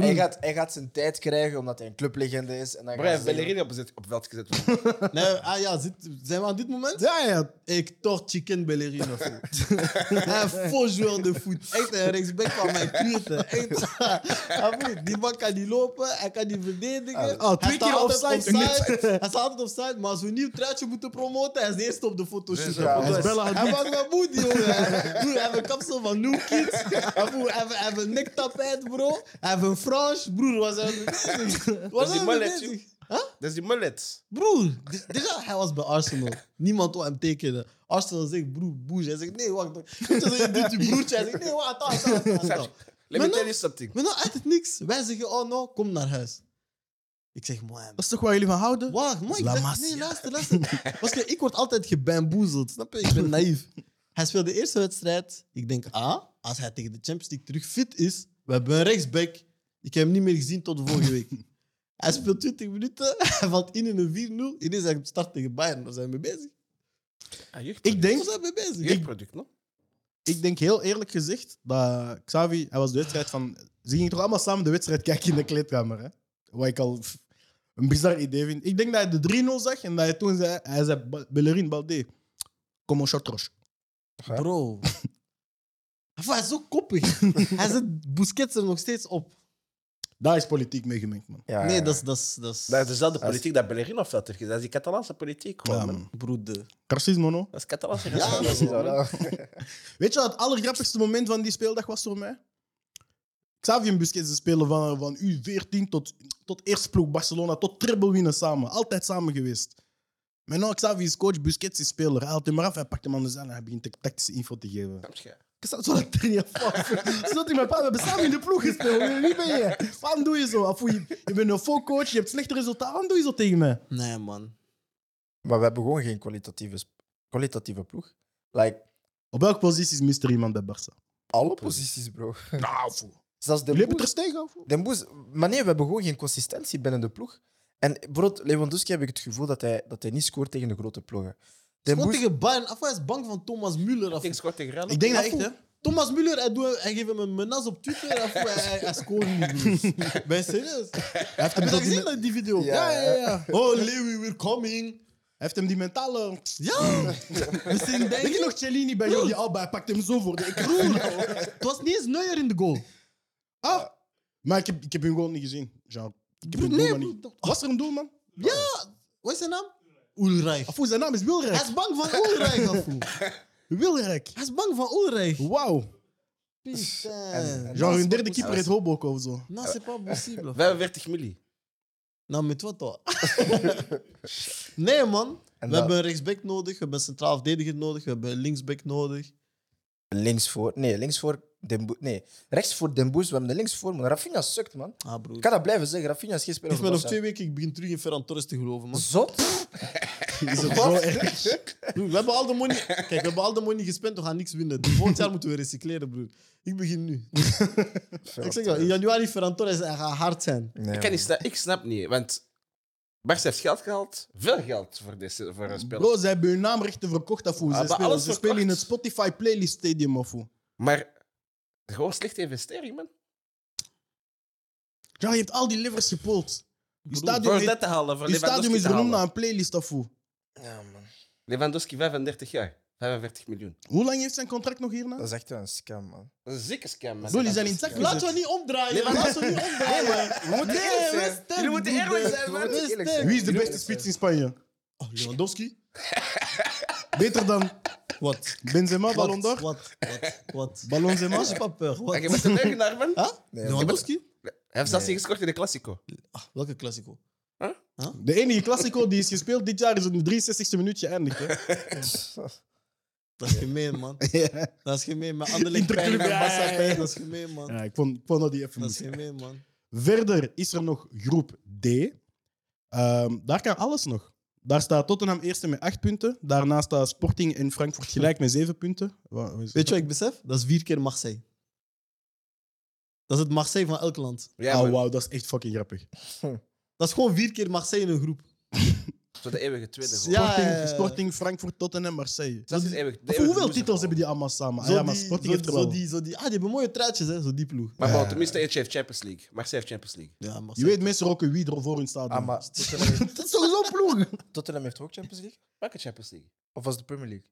Speaker 5: Hij gaat, hij gaat zijn tijd krijgen omdat hij een clublegende is. En dan
Speaker 6: Maar hij
Speaker 5: gaan
Speaker 6: heeft
Speaker 5: ze zeggen-
Speaker 6: Bellerin op, zet- op veld gezet. worden.
Speaker 1: Nee, ah ja, zit- zijn we aan dit moment?
Speaker 2: Ja, ja.
Speaker 1: Ik toch chicken ballerina voor. *laughs* Hij faux joueur de voet. Echt een rechtsback van mijn klierten. Echt. *laughs* Hij moet- Die man kan niet lopen, hij kan niet verdedigen.
Speaker 2: Oh, twee
Speaker 1: hij
Speaker 2: keer
Speaker 1: altijd
Speaker 2: offside.
Speaker 1: Hij staat altijd offside, maar als we een nieuw truitje moeten promoten, hij is de eerste op de foto. shoot.
Speaker 5: ja, hij is
Speaker 2: Bella Hadid.
Speaker 1: hij maakt me moed, jongen. Hij broer, hij heeft een kapsel van New Kids. Hij broer, hij heeft- hij heeft een nektapijt, bro. Hij heeft een frange. Broer, was hij mee bezig? Was
Speaker 6: is die
Speaker 1: hij mee
Speaker 6: mullet,
Speaker 1: bezig?
Speaker 6: Dat is die
Speaker 2: *laughs*
Speaker 6: mullet.
Speaker 1: Broer, d- déjà, hij was bij Arsenal. Niemand wil hem tekenen. Arsenal zegt, broer, boes. Hij zegt, nee, wacht. wacht. Weet je, zo, je doet je broertje. Hij zegt, nee, wacht, attends, attends, attends, attends.
Speaker 6: Let
Speaker 1: Maar
Speaker 6: me tell
Speaker 1: nou-
Speaker 6: you something.
Speaker 1: Maar nou, uit het niks. Wij zeggen, oh no, kom naar huis. Ik zeg, man,
Speaker 2: Dat is toch waar jullie van houden?
Speaker 1: wacht, man. Ik
Speaker 2: La
Speaker 1: zeg,
Speaker 2: Masia.
Speaker 1: nee, luister, luister. Want kijk, ik word altijd gebamboezeld, snap je? Ik ben naïef. Hij speelde de eerste wedstrijd. Ik denk, ah, als hij tegen de Champions League terug fit is, we hebben een rechtsback. Ik heb hem niet meer gezien tot de vorige week. Hij speelt 20 minuten, *laughs* hij valt in in een 4-0. Ineens hij op start tegen Bayern. Daar zijn we mee bezig.
Speaker 6: Ah,
Speaker 2: Ik
Speaker 1: Daar
Speaker 2: denk,
Speaker 1: zijn we mee bezig.
Speaker 6: Geen product, no?
Speaker 2: ik denk heel eerlijk gezegd dat Xavi, hij was de wedstrijd van. Ze gingen toch allemaal samen de wedstrijd kijken in de kleedkamer, hè? Wat ik al pff, een bizar idee vind. Ik denk dat hij de 3-0 zag en dat hij toen zei: hij zei "Ba- Bellerin Baldé, kom een shotros.
Speaker 5: Ja.
Speaker 1: Bro. Enfin, hij is zo koppig. hij zet Busquets er nog steeds op.
Speaker 2: Daar is politiek mee gemengd, man.
Speaker 5: Ja,
Speaker 1: Nee,
Speaker 5: ja.
Speaker 1: dat is- dat is... Dat is
Speaker 6: Dat is dezelfde politiek dat Bellerin op veld heeft gezet. Dat is die Catalaanse politiek, gewoon.
Speaker 2: Ja,
Speaker 6: man.
Speaker 2: man.
Speaker 1: broeder.
Speaker 2: Racisme, no?
Speaker 6: Dat is Catalaanse
Speaker 1: Ja,
Speaker 5: Dat is
Speaker 6: racisme,
Speaker 5: wel,
Speaker 6: man.
Speaker 5: ja.
Speaker 2: Weet je wat het allergrappigste moment van die speeldag was voor mij? Xavi en Busquets ze spelen van, van U14 tot, tot eerste ploeg Barcelona, tot treble winnen samen. Altijd samen geweest. Maar nou, Xavi is coach, Busquets is speler. Hij haalt hem eraf, hij pakt hem aan de zaal en hij begint de tactische info te geven.
Speaker 6: Snap je?
Speaker 2: Ik zat zo dat er niet af. Zodat ik mijn pa, we hebben samen in de ploeg gespeeld. Wie ben je? Waarom doe je zo? Afoe, je, je bent een coach, je hebt slechte resultaten. Waarom doe je zo tegen mij?
Speaker 1: Nee, man.
Speaker 5: Maar we hebben gewoon geen kwalitatieve, sp- kwalitatieve ploeg. Like,
Speaker 2: Op welke positie is Mr. iemand bij Barça?
Speaker 5: alle posities, bro. *laughs*
Speaker 2: Nou, foe.
Speaker 5: Zelfs de
Speaker 2: Jullie hebben
Speaker 5: ploeg.
Speaker 2: het er tegen, afoe.
Speaker 5: Den Boes, maar nee, we hebben gewoon geen consistentie binnen de ploeg. En bijvoorbeeld Lewandowski heb ik het gevoel dat hij, dat hij niet scoort tegen de grote ploegen. Den
Speaker 1: Gewoon
Speaker 5: Boes-
Speaker 1: tegen Bayern. Enfin, hij is bang van Thomas Müller.
Speaker 6: Ik
Speaker 1: af.
Speaker 6: denk scoort tegen Real.
Speaker 2: Ik denk dat
Speaker 1: Afoe.
Speaker 2: echt, hè?
Speaker 1: Thomas Müller, hij, doet, hij geeft hem een menas op Twitter. Afoe, hij, hij, hij scoort niet,
Speaker 2: *laughs*
Speaker 1: broer. Ben je serieus?
Speaker 2: Hij heeft
Speaker 1: Heb
Speaker 2: hem
Speaker 1: je dat
Speaker 2: tot die-
Speaker 1: gezien, dat- die video?
Speaker 5: Ja, ja,
Speaker 2: ja.
Speaker 1: Oh, Lewy, we're coming.
Speaker 2: Hij heeft hem die mentale.
Speaker 1: Ja. We zijn
Speaker 2: Denk je
Speaker 1: denken nog...
Speaker 2: nog Cellini bij Jordi Alba? Hij pakt hem zo voor
Speaker 1: *laughs*
Speaker 2: de ik
Speaker 1: Broer, het was niet eens Neuer in de goal.
Speaker 2: Ah, maar ik heb, ik heb hem gewoon niet gezien. Jean. Ik heb
Speaker 1: Broer,
Speaker 2: een
Speaker 1: nee,
Speaker 2: doelman niet.
Speaker 1: broer, dat-
Speaker 2: Was er een doelman?
Speaker 1: Wat is zijn naam? Ulreich.
Speaker 2: Afoe, zijn naam is Wilrijk.
Speaker 1: Hij is bang van Ulreich, afoe.
Speaker 5: *laughs*
Speaker 2: Wilrijk.
Speaker 1: Hij is bang van Ulreich.
Speaker 2: Wauw.
Speaker 1: Putain. Nou,
Speaker 2: Genre, hun derde
Speaker 1: possible.
Speaker 2: keeper
Speaker 5: *laughs*
Speaker 2: heet Hobok of zo.
Speaker 1: Non, c'est Nou, pas possible.
Speaker 6: 45 milli.
Speaker 1: Nou, met wat
Speaker 5: *laughs*
Speaker 1: toch? nee, man.
Speaker 5: en
Speaker 1: we
Speaker 5: dan
Speaker 1: hebben een rechtsback nodig, we hebben een centraal verdediger nodig, we hebben een linksback nodig.
Speaker 5: links voor. Nee, links voor Den Boes. Nee, rechts voor Den Boes. We hebben de links voor. Maar Rafinha sukt, man.
Speaker 1: Ah, broer.
Speaker 5: Ik kan dat blijven zeggen. Rafinha is geen speler.
Speaker 1: Niet
Speaker 5: voor
Speaker 1: meer nog
Speaker 5: Barca.
Speaker 1: twee weken, ik begin terug in Ferran Torres te geloven, man. *laughs*
Speaker 5: Zot?
Speaker 2: Is het zo erg?
Speaker 1: Broer, we hebben al de money... Kijk, we hebben al de money gespend, we gaan niks winnen. Dus volgend jaar moeten we recycleren, broer. Ik begin nu. ik zeg wel, in januari Ferran Torres, hij gaat hard zijn.
Speaker 5: Nee,
Speaker 6: Ik, kan niet sna- ik snap niet, want Barca heeft geld gehaald. Veel geld voor, deze, voor een speler.
Speaker 2: Bro, ze hebben hun naamrechten verkocht, afoe.
Speaker 6: Ah,
Speaker 2: Ze,
Speaker 6: maar
Speaker 2: spelen,
Speaker 6: alles
Speaker 2: ze spelen in het
Speaker 6: verkocht.
Speaker 2: Spotify Playlist Stadium, afoe.
Speaker 6: Maar gewoon slechte investering, man.
Speaker 2: Ja, je hebt al die livers gepoeld. Je
Speaker 1: Broer,
Speaker 2: stadium,
Speaker 6: Voor
Speaker 2: heet-
Speaker 6: dat te halen, voor
Speaker 2: je stadium
Speaker 6: Lewandowski
Speaker 2: is
Speaker 6: te
Speaker 2: genoemd
Speaker 6: halen.
Speaker 2: naar een playlist, afoe.
Speaker 5: man. Ja, man.
Speaker 6: Lewandowski 35 jaar. 45 miljoen.
Speaker 2: Hoe lang heeft zijn contract nog hierna?
Speaker 5: Dat is echt een scam, man.
Speaker 6: Dat is een zieke scam. man.
Speaker 2: Bro, die zijn in het zak
Speaker 1: Laten we
Speaker 2: gezet.
Speaker 1: niet omdraaien.
Speaker 6: Nee, maar-
Speaker 1: Laten we niet omdraaien.
Speaker 6: We moeten eerlijk zijn. Jullie moeten eerlijk zijn, man.
Speaker 1: We
Speaker 6: Eerlijk
Speaker 1: zijn
Speaker 6: zijn.
Speaker 2: Wie is de beste spits in Spanje?
Speaker 1: Oh, Lewandowski?
Speaker 2: Beter dan
Speaker 1: Wat?
Speaker 2: Benzema, Ballon
Speaker 1: Wat?
Speaker 2: d'Or?
Speaker 1: *laughs* Wat? Wat? Wat?
Speaker 2: Ballon
Speaker 1: Benzema?
Speaker 2: Zema?
Speaker 1: Als je pas peur. Wat?
Speaker 6: Oké, met de leugenaar, man.
Speaker 1: Huh?
Speaker 5: Nee,
Speaker 1: Lewandowski?
Speaker 6: Hij heeft zelfs niet gescoord in de Classico.
Speaker 1: Ah, welke Classico?
Speaker 2: De enige Classico die is gespeeld dit jaar is in de 63e minuut geëindigd. hè.
Speaker 1: Dat is gemeen, man. Dat is gemeen. Met Anderlecht
Speaker 2: Interclub,
Speaker 1: pijn en
Speaker 2: ja,
Speaker 1: Barca
Speaker 2: ja, ja.
Speaker 1: pijn. Dat is gemeen, man.
Speaker 2: Ja, ik, vond, ik vond dat die even
Speaker 1: Dat is
Speaker 2: moest.
Speaker 1: gemeen, man.
Speaker 2: Verder is er nog groep D. Ehm, daar kan alles nog. Daar staat Tottenham eerste met 8 punten. Daarna staat Sporting en Frankfurt gelijk met 7 punten. Wa- wa- is-
Speaker 1: Weet je wat ik besef? Dat is vier keer Marseille. Dat is het Marseille van elk land.
Speaker 6: Ja,
Speaker 2: Ah,
Speaker 6: man.
Speaker 2: wauw, dat is echt fucking grappig.
Speaker 1: Dat is gewoon vier keer Marseille in een groep.
Speaker 6: Zo de eeuwige tweede.
Speaker 1: Ja,
Speaker 6: gewoon.
Speaker 2: Sporting,
Speaker 1: ja, ja.
Speaker 2: Sporting Frankfurt, Tottenham, Marseille.
Speaker 6: Dat is eeuwig. de
Speaker 2: Of
Speaker 6: eeuwige
Speaker 2: hoeveel
Speaker 6: loser
Speaker 2: titels
Speaker 6: gewoon.
Speaker 2: hebben die allemaal samen? Ah,
Speaker 1: Zo
Speaker 2: ja, maar
Speaker 1: die-
Speaker 2: Sporting
Speaker 1: zo-
Speaker 2: heeft er
Speaker 1: zo
Speaker 2: wel.
Speaker 1: die, zo die, Ah, die hebben mooie truitjes, hè? Zo die ploeg.
Speaker 6: Maar
Speaker 2: Ja.
Speaker 6: bon, tenminste, eentje heeft Champions League. Marseille heeft Champions League.
Speaker 1: Ja, Marseille.
Speaker 2: Je weet meestal ook wie er voor hun staat.
Speaker 5: Ah, maar Tottenham heeft,
Speaker 1: Dat is sowieso een ploeg. *laughs*
Speaker 5: Tottenham heeft ook Champions League?
Speaker 6: Welke Champions League?
Speaker 5: Of was het de Premier League?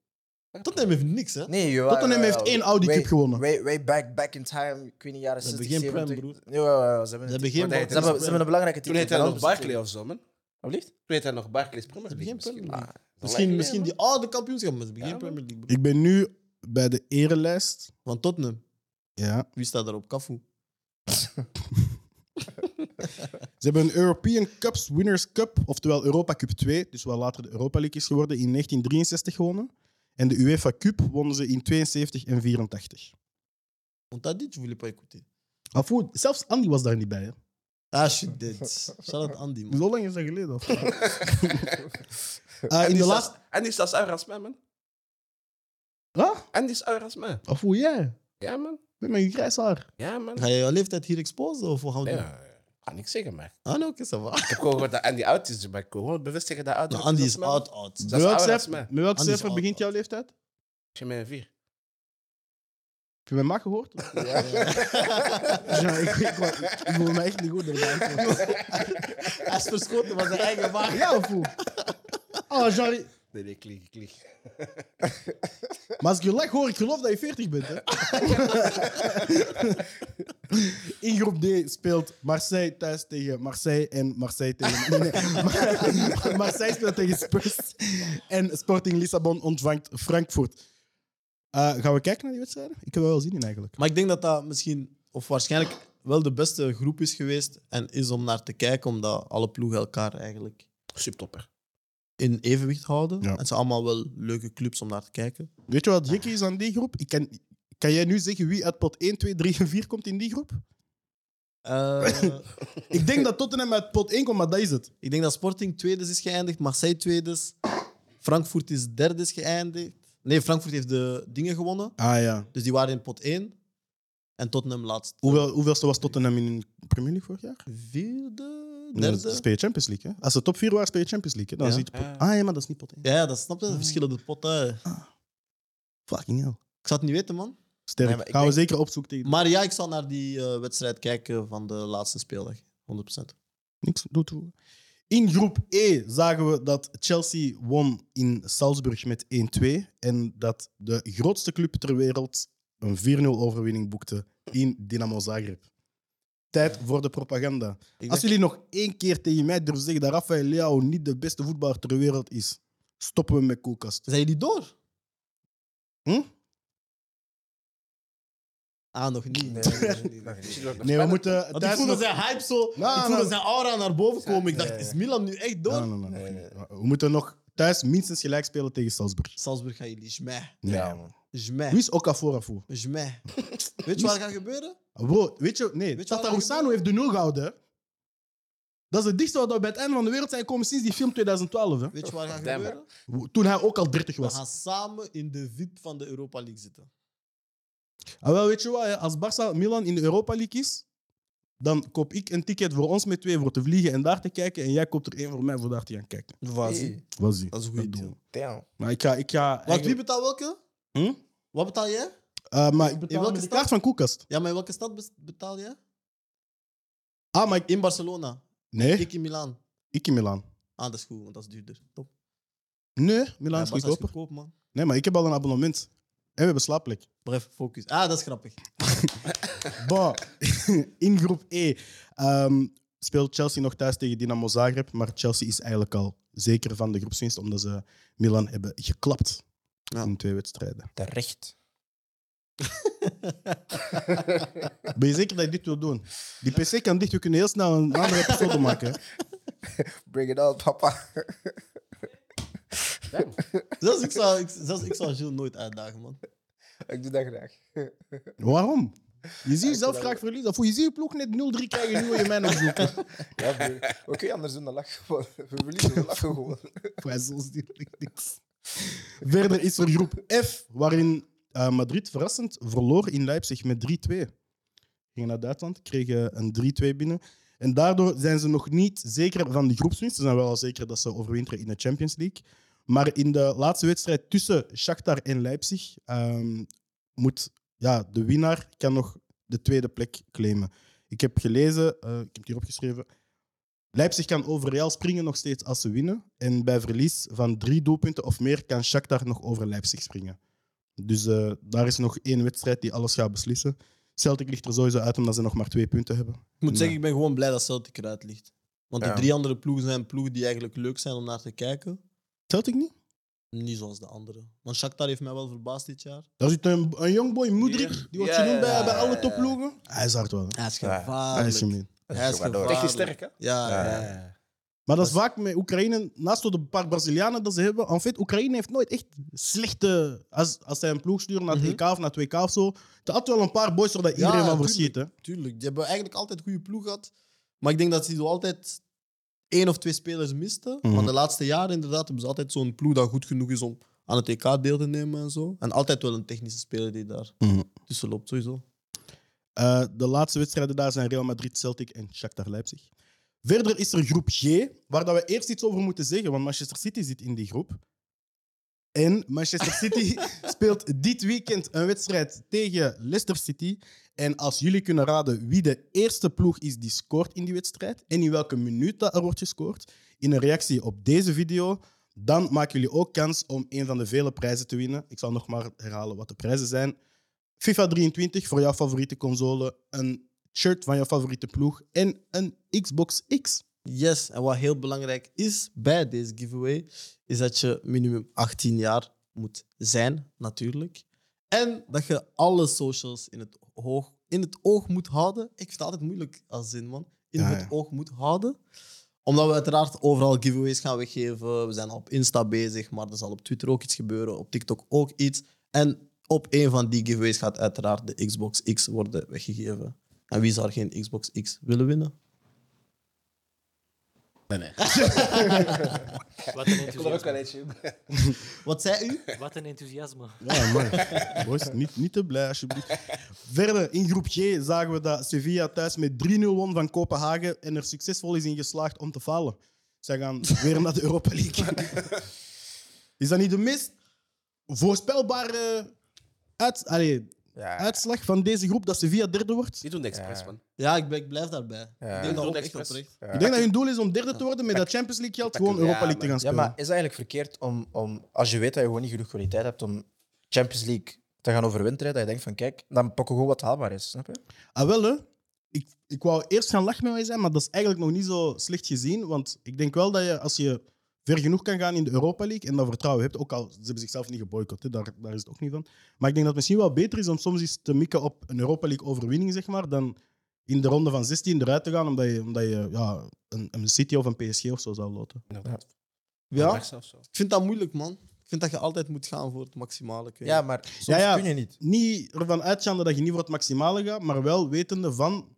Speaker 1: Tottenham heeft niks, hè?
Speaker 5: Nee, jawel,
Speaker 2: Tottenham
Speaker 5: jawel,
Speaker 2: heeft
Speaker 5: jawel.
Speaker 2: één Audi Cup
Speaker 5: Way-
Speaker 2: gewonnen.
Speaker 5: Way, way back, back in time. Ik weet niet, jaren
Speaker 1: Ze hebben
Speaker 5: 60,
Speaker 1: geen prem, broer.
Speaker 5: 70. Jawel, jawel, jawel, ze hebben
Speaker 1: Ze
Speaker 5: het.
Speaker 1: hebben geen
Speaker 6: Want hij-
Speaker 5: Ze hebben, ze hebben een belangrijke
Speaker 6: Toen
Speaker 5: titel.
Speaker 6: heette hij nog Barclay
Speaker 5: Barclay.
Speaker 6: of zo, man. Toen
Speaker 5: Alsjeblieft.
Speaker 6: heette hij nog Barclays Premier
Speaker 1: Het
Speaker 6: League.
Speaker 1: begin Premier
Speaker 6: Misschien.
Speaker 1: League.
Speaker 5: Ah,
Speaker 1: Misschien,
Speaker 6: lang
Speaker 1: misschien die
Speaker 6: geleden,
Speaker 1: oude kampioenschap, maar ze hebben
Speaker 6: Ja,
Speaker 1: geen
Speaker 6: man.
Speaker 1: Premier League. bro.
Speaker 2: Ik ben nu bij de erelijst.
Speaker 1: Van Tottenham.
Speaker 2: Ja.
Speaker 1: Wie staat daarop? Cafu.
Speaker 2: Ze hebben een European Cups Winners Cup, oftewel Europa Cup 2, dus wat later de Europa League is geworden, in 1963 gewonnen. En de UEFA Cup wonnen ze in 72 en 84.
Speaker 1: Want dat dit, je wil je pas écouter.
Speaker 2: Afoe, zelfs Andy was daar niet bij. Hè.
Speaker 1: Ah, shit, dit. Shout-out Andy,
Speaker 2: *laughs*
Speaker 1: man.
Speaker 2: Zo lang is dat geleden. of?
Speaker 6: *laughs*
Speaker 2: Eh,
Speaker 1: Ah,
Speaker 2: in
Speaker 6: En
Speaker 2: de
Speaker 6: die is
Speaker 2: laatste...
Speaker 6: zelfs- En die is zelfs ouder als mij, man.
Speaker 2: Wat?
Speaker 6: En die is ouder als mij.
Speaker 2: Afoe, jij?
Speaker 6: Ja, man.
Speaker 2: Met mijn grijs haar.
Speaker 6: Ja, man.
Speaker 1: Ga je jouw leeftijd hier exposen of hoe gaan we
Speaker 6: Nee,
Speaker 1: doen?
Speaker 6: ja, ja. Kan niks zeggen, maar.
Speaker 1: Ah, nee, oké, ça va.
Speaker 6: Ik heb gewoon gehoord dat Andy oud is, maar ik wil gewoon bevestigen dat oud
Speaker 1: Nou, Andy is
Speaker 6: man.
Speaker 1: oud, oud.
Speaker 6: Dat
Speaker 2: Met welk
Speaker 6: is ouder als
Speaker 2: cijfer,
Speaker 6: mij.
Speaker 2: met welk
Speaker 1: Andy is
Speaker 2: cijfer
Speaker 1: oud,
Speaker 2: begint
Speaker 1: oud.
Speaker 2: jouw leeftijd?
Speaker 6: Ik ben een vier.
Speaker 2: Heb je mijn maag
Speaker 1: *laughs*
Speaker 2: gehoord? Ja, *laughs* ik, ik, ik, ik voel me echt niet goed. door dat antwoord.
Speaker 1: *laughs* Hij is verschoten van zijn eigen maag.
Speaker 2: Ja, afoe. Oh, Jean,
Speaker 6: Nee, nee, klik, klik.
Speaker 2: Maar als ik je lach hoor, ik geloof dat je 40 bent.
Speaker 1: *laughs*
Speaker 2: Hè? In groep D speelt Marseille thuis tegen Marseille en Marseille tegen. Nee, nee. *laughs* Maar- Marseille speelt tegen Spurs en Sporting Lissabon ontvangt Frankfurt. Eh, gaan we kijken naar die wedstrijden? Ik heb er wel zin in eigenlijk.
Speaker 1: Maar ik denk dat dat misschien, of waarschijnlijk, wel de beste groep is geweest en is om naar te kijken, omdat alle ploegen elkaar eigenlijk
Speaker 6: Subtopper.
Speaker 1: in evenwicht houden.
Speaker 2: Ja.
Speaker 1: En het zijn allemaal wel leuke clubs om naar te kijken.
Speaker 2: Weet je wat gek is aan die groep? Ik kan, kan jij nu zeggen wie uit pot 1, 2, 3 en 4 komt in die groep? *laughs*
Speaker 1: Eh,
Speaker 2: Ik denk dat Tottenham uit pot 1 komt, maar dat is het.
Speaker 1: ik denk dat Sporting tweede is geëindigd, Marseille tweede is, Frankfurt is derde is geëindigd. Nee, Frankfurt heeft de dingen gewonnen,
Speaker 2: Ah ja.
Speaker 1: dus die waren in pot 1. En Tottenham laatst.
Speaker 2: Hoeveel, hoeveelste was Tottenham in de Premier League vorig jaar?
Speaker 1: Vierde?
Speaker 2: Nee,
Speaker 1: Derde?
Speaker 2: dan speel je Champions League. Hè? Als ze top 4 waren, speel je Champions League. Hè? Dan
Speaker 1: Ja.
Speaker 2: zit pot... Ah ja, maar dat is niet pot één.
Speaker 1: Ja, ja, dat snap je. Verschillende potten.
Speaker 2: Fucking hell.
Speaker 1: Ik zou het niet weten, man.
Speaker 2: Sterk.
Speaker 5: Nee, maar ik
Speaker 2: Gaan we
Speaker 5: denk-
Speaker 2: zeker opzoeken tegen...
Speaker 1: Maar ja, ik zal naar die eh, wedstrijd kijken van de laatste speeldag. 100%.
Speaker 2: Niks doet toe. In groep E zagen we dat Chelsea won in Salzburg met 1-2. En dat de grootste club ter wereld een 4-0 overwinning boekte in Dynamo Zagreb. Tijd voor de propaganda.
Speaker 1: Ik
Speaker 2: Als
Speaker 1: dacht-
Speaker 2: jullie nog één keer tegen mij durven zeggen dat Rafael Leao niet de beste voetballer ter wereld is, stoppen we met koelkast.
Speaker 1: Zijn jullie door?
Speaker 2: Hm?
Speaker 1: Ah, nog niet.
Speaker 5: Nee, nee,
Speaker 1: *laughs*
Speaker 5: nee, nee, nee.
Speaker 6: Misschien wordt het nog
Speaker 5: *laughs*
Speaker 2: Nee, we
Speaker 6: spannend.
Speaker 2: moeten...
Speaker 1: Want ik
Speaker 2: thuis
Speaker 1: voelde
Speaker 2: nog-
Speaker 1: zijn hype zo.
Speaker 2: Nou,
Speaker 1: ik voelde
Speaker 2: nou.
Speaker 1: zijn aura naar boven komen. Ik dacht,
Speaker 5: Nee.
Speaker 1: is Milan nu echt door?
Speaker 2: Nee, nee, nee,
Speaker 5: Nee,
Speaker 2: nee.
Speaker 5: nee.
Speaker 2: We moeten nog thuis minstens gelijk spelen tegen Salzburg.
Speaker 1: Salzburg gaan jullie jmij.
Speaker 2: Nee.
Speaker 5: Ja, man.
Speaker 2: Wie
Speaker 1: Jmij.
Speaker 2: is Okafor voor?
Speaker 1: Jmij. Weet je wat er gaat gebeuren?
Speaker 2: Bro, weet je, nee,
Speaker 1: je wat
Speaker 2: Tata
Speaker 1: er
Speaker 2: Roussano heeft de nul gehouden. hè. Dat is het dichtste wat we bij het einde van de wereld zijn gekomen sinds die film 2012. Hè.
Speaker 1: Weet je wat er gaat
Speaker 6: Damn.
Speaker 1: gebeuren?
Speaker 2: Toen hij ook al 30
Speaker 1: We
Speaker 2: was.
Speaker 1: gaan samen in de VIP van de Europa League zitten.
Speaker 2: Ah, wel, weet je wat, hè, als Barça Milan in de Europa League is, dan koop ik een ticket voor ons met twee voor te vliegen en daar te kijken. En jij koopt er één voor mij voor daar te gaan kijken.
Speaker 1: Wat
Speaker 5: Hey,
Speaker 2: Was ie.
Speaker 1: Dat is een goede deal.
Speaker 5: damn.
Speaker 2: Maar ik ga. Ik ga
Speaker 1: Want wie
Speaker 2: eigenlijk-
Speaker 1: betaalt welke?
Speaker 2: Hm?
Speaker 1: Wat betaal jij?
Speaker 2: Eh, maar ik
Speaker 1: In
Speaker 2: betaal
Speaker 1: welke
Speaker 2: met de
Speaker 1: stad?
Speaker 2: kaart van Koelkast.
Speaker 1: Ja, maar in welke stad bes- betaal jij?
Speaker 2: Ah, maar ik.
Speaker 1: In Barcelona.
Speaker 2: Nee,
Speaker 1: Ik in Milaan.
Speaker 2: ik in Milan.
Speaker 1: Ah, dat is goed, want dat is duurder. Top.
Speaker 2: Nee, Milan
Speaker 1: Ja,
Speaker 2: is
Speaker 1: Barca
Speaker 2: goedkoper.
Speaker 1: goedkoop, man.
Speaker 2: Nee, maar ik heb al een abonnement. En we hebben slaapplek.
Speaker 1: Maar even focus. Ah, dat is grappig.
Speaker 2: Bon, *laughs* in groep E ehm, speelt Chelsea nog thuis tegen Dynamo Zagreb. Maar Chelsea is eigenlijk al zeker van de groepswinst, omdat ze Milan hebben geklapt
Speaker 1: Ja.
Speaker 2: in twee wedstrijden.
Speaker 5: Terecht.
Speaker 2: Ben je zeker dat je dit wil doen? Die PC kan dicht, we kunnen heel snel een andere episode maken. hè.
Speaker 5: Bring it on, papa. *laughs*
Speaker 1: Zelfs ik, zou, ik, zelfs ik zou Jules nooit uitdagen, man.
Speaker 5: Ik doe dat graag.
Speaker 2: Waarom? Je ziet jezelf graag verliezen. Of je ziet je ploeg net 0-3 krijgen, nu wil je mij nog zoeken.
Speaker 5: Ja, broer. Oké, anders doen dan lachen *laughs* gewoon. We verliezen, we lachen gewoon.
Speaker 2: Wij zoals die *laughs* niks. Verder is er groep F, waarin eh, Madrid verrassend verloor in Leipzig met 3-2. Gingen naar Duitsland, kregen een 3-2 binnen. En daardoor zijn ze nog niet zeker van de groepswinst. Ze zijn wel al zeker dat ze overwinteren in de Champions League. Maar in de laatste wedstrijd tussen Shakhtar en Leipzig ehm, moet ja, de winnaar kan nog de tweede plek claimen. Ik heb gelezen, eh, ik heb het hier opgeschreven, Leipzig kan over Real springen nog steeds als ze winnen. En bij verlies van drie doelpunten of meer kan Shakhtar nog over Leipzig springen. Dus eh, daar is nog één wedstrijd die alles gaat beslissen. Celtic ligt er sowieso uit omdat ze nog maar twee punten hebben.
Speaker 1: Ik moet
Speaker 2: Ja.
Speaker 1: zeggen, ik ben gewoon blij dat Celtic eruit ligt. Want
Speaker 5: Ja.
Speaker 1: die drie andere ploegen zijn ploegen die eigenlijk leuk zijn om naar te kijken.
Speaker 2: Celtic niet?
Speaker 1: Niet zoals de andere. Want Shakhtar heeft mij wel verbaasd dit jaar.
Speaker 2: Daar zit een, een jongboy, Moedrik,
Speaker 6: Hier.
Speaker 2: die wordt
Speaker 6: Ja,
Speaker 2: genoemd
Speaker 6: ja,
Speaker 2: bij,
Speaker 6: ja,
Speaker 2: bij
Speaker 6: ja,
Speaker 2: alle
Speaker 6: ja.
Speaker 2: topploegen. Hij is hard wel. hè.
Speaker 1: Hij is
Speaker 5: Ja.
Speaker 2: Hij
Speaker 1: gevaarlijk.
Speaker 2: is gemeen.
Speaker 1: Hij is
Speaker 5: Waardoor.
Speaker 1: gevaarlijk.
Speaker 6: Technisch sterk, hè?
Speaker 1: Ja,
Speaker 5: Ja,
Speaker 1: ja,
Speaker 5: ja,
Speaker 1: ja.
Speaker 2: Maar dat is vaak met Oekraïne, naast de paar Brazilianen dat ze hebben. En fait, Oekraïne heeft nooit echt slechte. Als, als zij een ploeg sturen naar het
Speaker 1: Mhm.
Speaker 2: EK of naar het WK of zo. Er altijd wel een paar boys waar dat iedereen
Speaker 1: Ja,
Speaker 2: van
Speaker 1: tuurlijk.
Speaker 2: verschiet. Hè.
Speaker 1: Tuurlijk, die hebben eigenlijk altijd goede ploeg gehad. Maar ik denk dat ze zo altijd één of twee spelers misten.
Speaker 2: Mhm.
Speaker 1: Want de laatste jaren inderdaad hebben ze altijd zo'n ploeg dat goed genoeg is om aan het EK deel te nemen en zo. En altijd wel een technische speler die daar
Speaker 2: Mhm.
Speaker 1: tussen loopt, sowieso.
Speaker 2: Eh, de laatste wedstrijden daar zijn Real Madrid, Celtic en Shakhtar Leipzig. Verder is er groep G, waar dat we eerst iets over moeten zeggen, want Manchester City zit in die groep. En Manchester City speelt dit weekend een wedstrijd tegen Leicester City. En als jullie kunnen raden wie de eerste ploeg is die scoort in die wedstrijd en in welke minuut dat er wordt gescoord, in een reactie op deze video, dan maken jullie ook kans om een van de vele prijzen te winnen. Ik zal nog maar herhalen wat de prijzen zijn. FIFA 23 voor jouw favoriete console, een shirt van jouw favoriete ploeg en een Xbox X.
Speaker 1: Yes, en wat heel belangrijk is bij deze giveaway, is dat je minimum 18 jaar moet zijn, natuurlijk. En dat je alle socials in het, hoog, in het oog moet houden. Ik vind het altijd moeilijk als zin, man. In
Speaker 2: Ja,
Speaker 1: het
Speaker 2: ja.
Speaker 1: oog moet houden. Omdat we uiteraard overal giveaways gaan weggeven. We zijn al op Insta bezig, maar er zal op Twitter ook iets gebeuren. Op TikTok ook iets. En op een van die giveaways gaat uiteraard de Xbox X worden weggegeven. En wie zou er geen Xbox X willen winnen?
Speaker 4: Nee, nee.
Speaker 7: Wat een
Speaker 6: Ik wil er ook wel
Speaker 7: enthousiasme.
Speaker 6: eentje.
Speaker 1: Wat zei u?
Speaker 7: Wat een enthousiasme.
Speaker 2: Ja, man. *laughs* Boys, niet, niet te blij, alsjeblieft. Verder, in groep G zagen we dat Sevilla thuis met 3-0 won van Kopenhagen en er succesvol is in geslaagd om te falen.
Speaker 1: *laughs*
Speaker 2: Zij gaan weer naar de Europa League. *laughs* Is dat niet de meest voorspelbare uit, allee,
Speaker 5: Ja,
Speaker 2: uitslag van deze groep dat Sevilla derde wordt?
Speaker 6: Die doen het expres,
Speaker 5: Ja.
Speaker 6: man.
Speaker 1: Ja, ik, ben- ik blijf daarbij.
Speaker 5: Ja.
Speaker 1: Ik denk
Speaker 5: Ik
Speaker 1: dat
Speaker 6: doe
Speaker 1: ook echt
Speaker 6: het expres.
Speaker 1: oprecht.
Speaker 5: ja.
Speaker 2: Ik denk dat hun doel is om derde te worden met dat Champions League geld, gewoon Europa League te gaan
Speaker 5: Ja,
Speaker 2: spelen.
Speaker 5: maar is het eigenlijk verkeerd om, om, als je weet dat je gewoon niet genoeg kwaliteit hebt om Champions League te gaan overwinteren, dat je denkt van kijk, dan pakken we gewoon wat haalbaar is, snap je?
Speaker 2: Ah, wel hè. Ik, ik wou eerst gaan lachen met mij zijn, maar dat is eigenlijk nog niet zo slecht gezien. Want ik denk wel dat je, als je ver genoeg kan gaan in de Europa League en dat vertrouwen hebt, ook al ze hebben zichzelf niet geboycott, hè, daar, daar is het ook niet van. Maar ik denk dat het misschien wel beter is om soms eens te mikken op een Europa League overwinning, zeg maar, dan in de ronde van 16 eruit te gaan, omdat je, omdat je ja, een, een City of een PSG of zo zou loten.
Speaker 1: Ja,
Speaker 6: Ajax of zo.
Speaker 1: ik vind dat moeilijk, man. Ik vind dat je altijd moet gaan voor het maximale. ik weet
Speaker 5: Ja,
Speaker 1: niet.
Speaker 5: maar soms
Speaker 2: Ja, ja.
Speaker 5: kun je niet.
Speaker 2: Niet ervan uitgaande dat je niet voor het maximale gaat, maar wel wetende van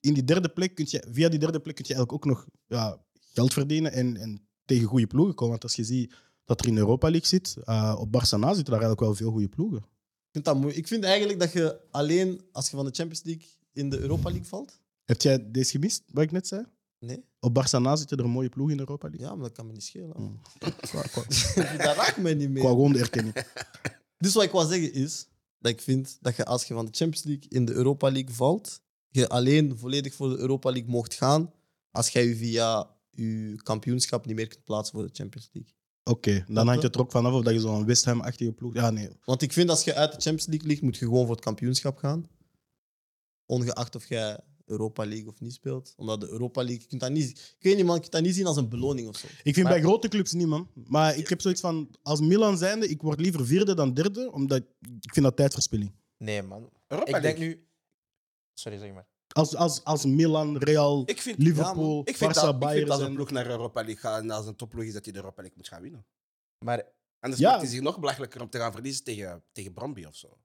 Speaker 2: in die derde plek kun je, via die derde plek kun je eigenlijk ook nog ja, geld verdienen en, en tegen goede ploegen komen. Want als je ziet dat er in de Europa League zit, eh, op Barcelona zitten daar eigenlijk wel veel goede ploegen.
Speaker 1: ik, vind dat moe- ik vind eigenlijk dat je alleen als je van de Champions League in de Europa League valt.
Speaker 2: Heb jij deze gemist, wat ik net zei?
Speaker 1: Nee,
Speaker 2: Op Barcelona zitten er mooie ploegen in de Europa League.
Speaker 1: ja, maar dat kan me niet schelen.
Speaker 2: Mm. Qua, qua,
Speaker 1: *laughs* dat raakt mij niet meer.
Speaker 2: qua gewoon de *laughs* erkenning.
Speaker 1: Dus wat ik wil zeggen is dat ik vind dat je als je van de Champions League in de Europa League valt, je alleen volledig voor de Europa League mocht gaan als jij je via je kampioenschap niet meer kunt plaatsen voor de Champions League.
Speaker 2: Oké, dan hangt het er ook vanaf of dat eh, je zo'n West Ham-achtige ploeg... Ja, nee.
Speaker 1: Want ik vind als je uit de Champions League ligt, moet je gewoon voor het kampioenschap gaan. Ongeacht of jij Europa League of niet speelt. Omdat de Europa League, je kunt dat niet, ik weet niet, man, je kunt dat niet zien als een beloning of zo.
Speaker 2: Ik vind
Speaker 1: Maar-
Speaker 2: bij grote clubs niet, man. Maar ik heb zoiets van, als Milan zijnde, ik word liever vierde dan derde, omdat ik vind dat tijdverspilling.
Speaker 5: Nee, man.
Speaker 6: Europa
Speaker 5: Ik denk
Speaker 6: League.
Speaker 5: nu... Sorry, zeg maar.
Speaker 2: Als, als, als Milan, Real,
Speaker 6: Ik vind,
Speaker 1: Ja,
Speaker 2: Liverpool,
Speaker 6: ik
Speaker 2: Barça,
Speaker 6: vind, dat, ik
Speaker 2: Bayern...
Speaker 6: vind dat als een
Speaker 2: zijn-
Speaker 6: ploeg naar Europa League gaat en als een topploeg is dat je de Europa League moet gaan winnen.
Speaker 5: Maar
Speaker 6: Anders
Speaker 2: Ja.
Speaker 6: maakt het zich nog belachelijker om te gaan verliezen tegen, tegen Bromby of zo.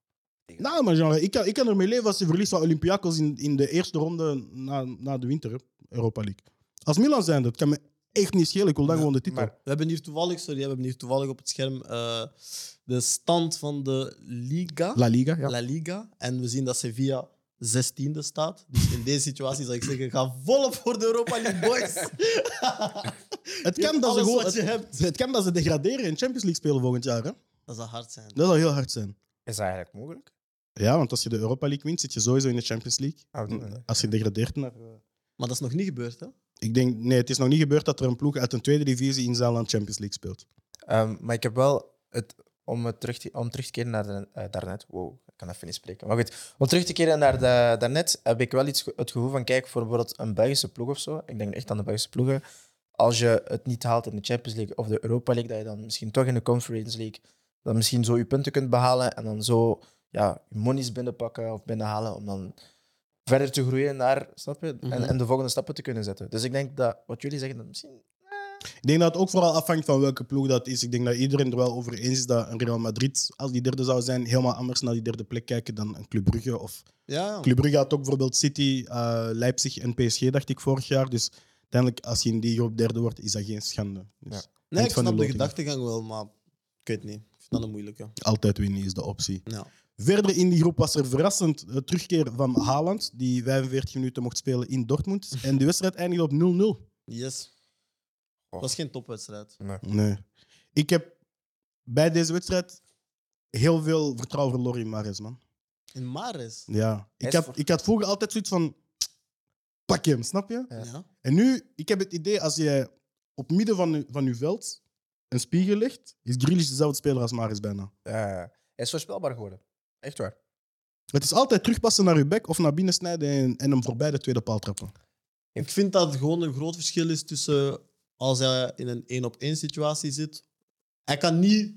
Speaker 6: Tegen-
Speaker 2: Nou, maar genre, ik kan, ik kan ermee leven als ze verliest van Olympiakos in, in de eerste ronde na, na de winter, hè, Europa League. Als Milan zijn dat kan me echt niet schelen. Ik wil dan
Speaker 1: Ja,
Speaker 2: gewoon de titel.
Speaker 5: maar-
Speaker 1: We hebben hier toevallig, sorry, we hebben hier toevallig op het scherm eh, de stand van de Liga.
Speaker 2: La Liga, ja.
Speaker 1: La Liga. En we zien dat Sevilla 16e staat. Dus in deze situatie zou ik zeggen: ga volop voor de Europa League, boys. *laughs*
Speaker 2: Het
Speaker 1: Je
Speaker 2: kan,
Speaker 1: hebt
Speaker 2: dat ze
Speaker 1: alles
Speaker 2: gewoon,
Speaker 1: wat je
Speaker 2: het, het kan dat ze degraderen en Champions League spelen volgend jaar. Hè?
Speaker 1: Dat zou hard zijn.
Speaker 2: Dat zou heel hard zijn.
Speaker 5: is dat eigenlijk mogelijk?
Speaker 2: Ja, want als je de Europa League wint, zit je sowieso in de Champions League.
Speaker 5: Ah, we doen dat, hè.
Speaker 2: Als je degradeert naar...
Speaker 1: Maar dat is nog niet gebeurd, hè?
Speaker 2: Ik denk, nee, het is nog niet gebeurd dat er een ploeg uit een tweede divisie in zijn land Champions League speelt.
Speaker 5: Ehm, maar ik heb wel het, om, het terug, te, om terug te keren naar de, eh, daarnet. Wow, ik kan even niet spreken. Maar goed, om terug te keren naar de, daarnet heb ik wel iets, ge- het gevoel van: kijk, voor bijvoorbeeld een Belgische ploeg of zo. Ik denk echt aan de Belgische ploegen. Als je het niet haalt in de Champions League of de Europa League, dat je dan misschien toch in de Conference League. dan misschien zo je punten kunt behalen en dan zo ja, je monies binnenpakken of binnenhalen. om dan verder te groeien naar, snap je?
Speaker 1: Mhm.
Speaker 5: En, en de volgende stappen te kunnen zetten. Dus ik denk dat wat jullie zeggen, dat misschien.
Speaker 2: Ik denk dat het ook vooral afhangt van welke ploeg dat is. Ik denk dat iedereen er wel over eens is dat een Real Madrid, als die derde zou zijn, helemaal anders naar die derde plek kijken dan een Club Brugge. Of
Speaker 1: Ja, ja.
Speaker 2: Club Brugge had ook bijvoorbeeld City, eh, Leipzig en PSG, dacht ik, vorig jaar. Dus uiteindelijk, als je in die groep derde wordt, is dat geen schande. Dus
Speaker 1: Nee, ik
Speaker 2: van de
Speaker 1: snap de
Speaker 2: loting.
Speaker 1: gedachtegang wel, maar ik weet niet. Ik vind dat een moeilijke.
Speaker 2: altijd winnen is de optie.
Speaker 1: Ja.
Speaker 2: Verder in die groep was er verrassend de terugkeer van Haaland, die 45 minuten mocht spelen in Dortmund. En de wedstrijd eindigde op 0-0.
Speaker 1: Yes.
Speaker 5: Oh.
Speaker 1: Dat is geen topwedstrijd.
Speaker 2: Nee. Ik heb bij deze wedstrijd heel veel vertrouwen verloren in Mares, man.
Speaker 1: In Maris.
Speaker 2: Ja.
Speaker 5: Hij
Speaker 2: Ik
Speaker 5: is
Speaker 2: had,
Speaker 5: voor-
Speaker 2: ik had vroeger altijd zoiets van... Pak hem, snap je?
Speaker 5: Ja.
Speaker 1: Ja.
Speaker 2: En nu, ik heb het idee, als jij op midden van, je- van je veld een spiegel legt, is Grealish dezelfde speler als Mares bijna.
Speaker 5: Ja, ja, ja. eh, hij is voorspelbaar geworden. Echt waar.
Speaker 2: Het is altijd terugpassen naar je bek of naar binnen snijden en, en hem voorbij de tweede paal trappen.
Speaker 1: Ik vind dat het gewoon een groot verschil is tussen als hij in een één op één situatie zit. Hij kan niet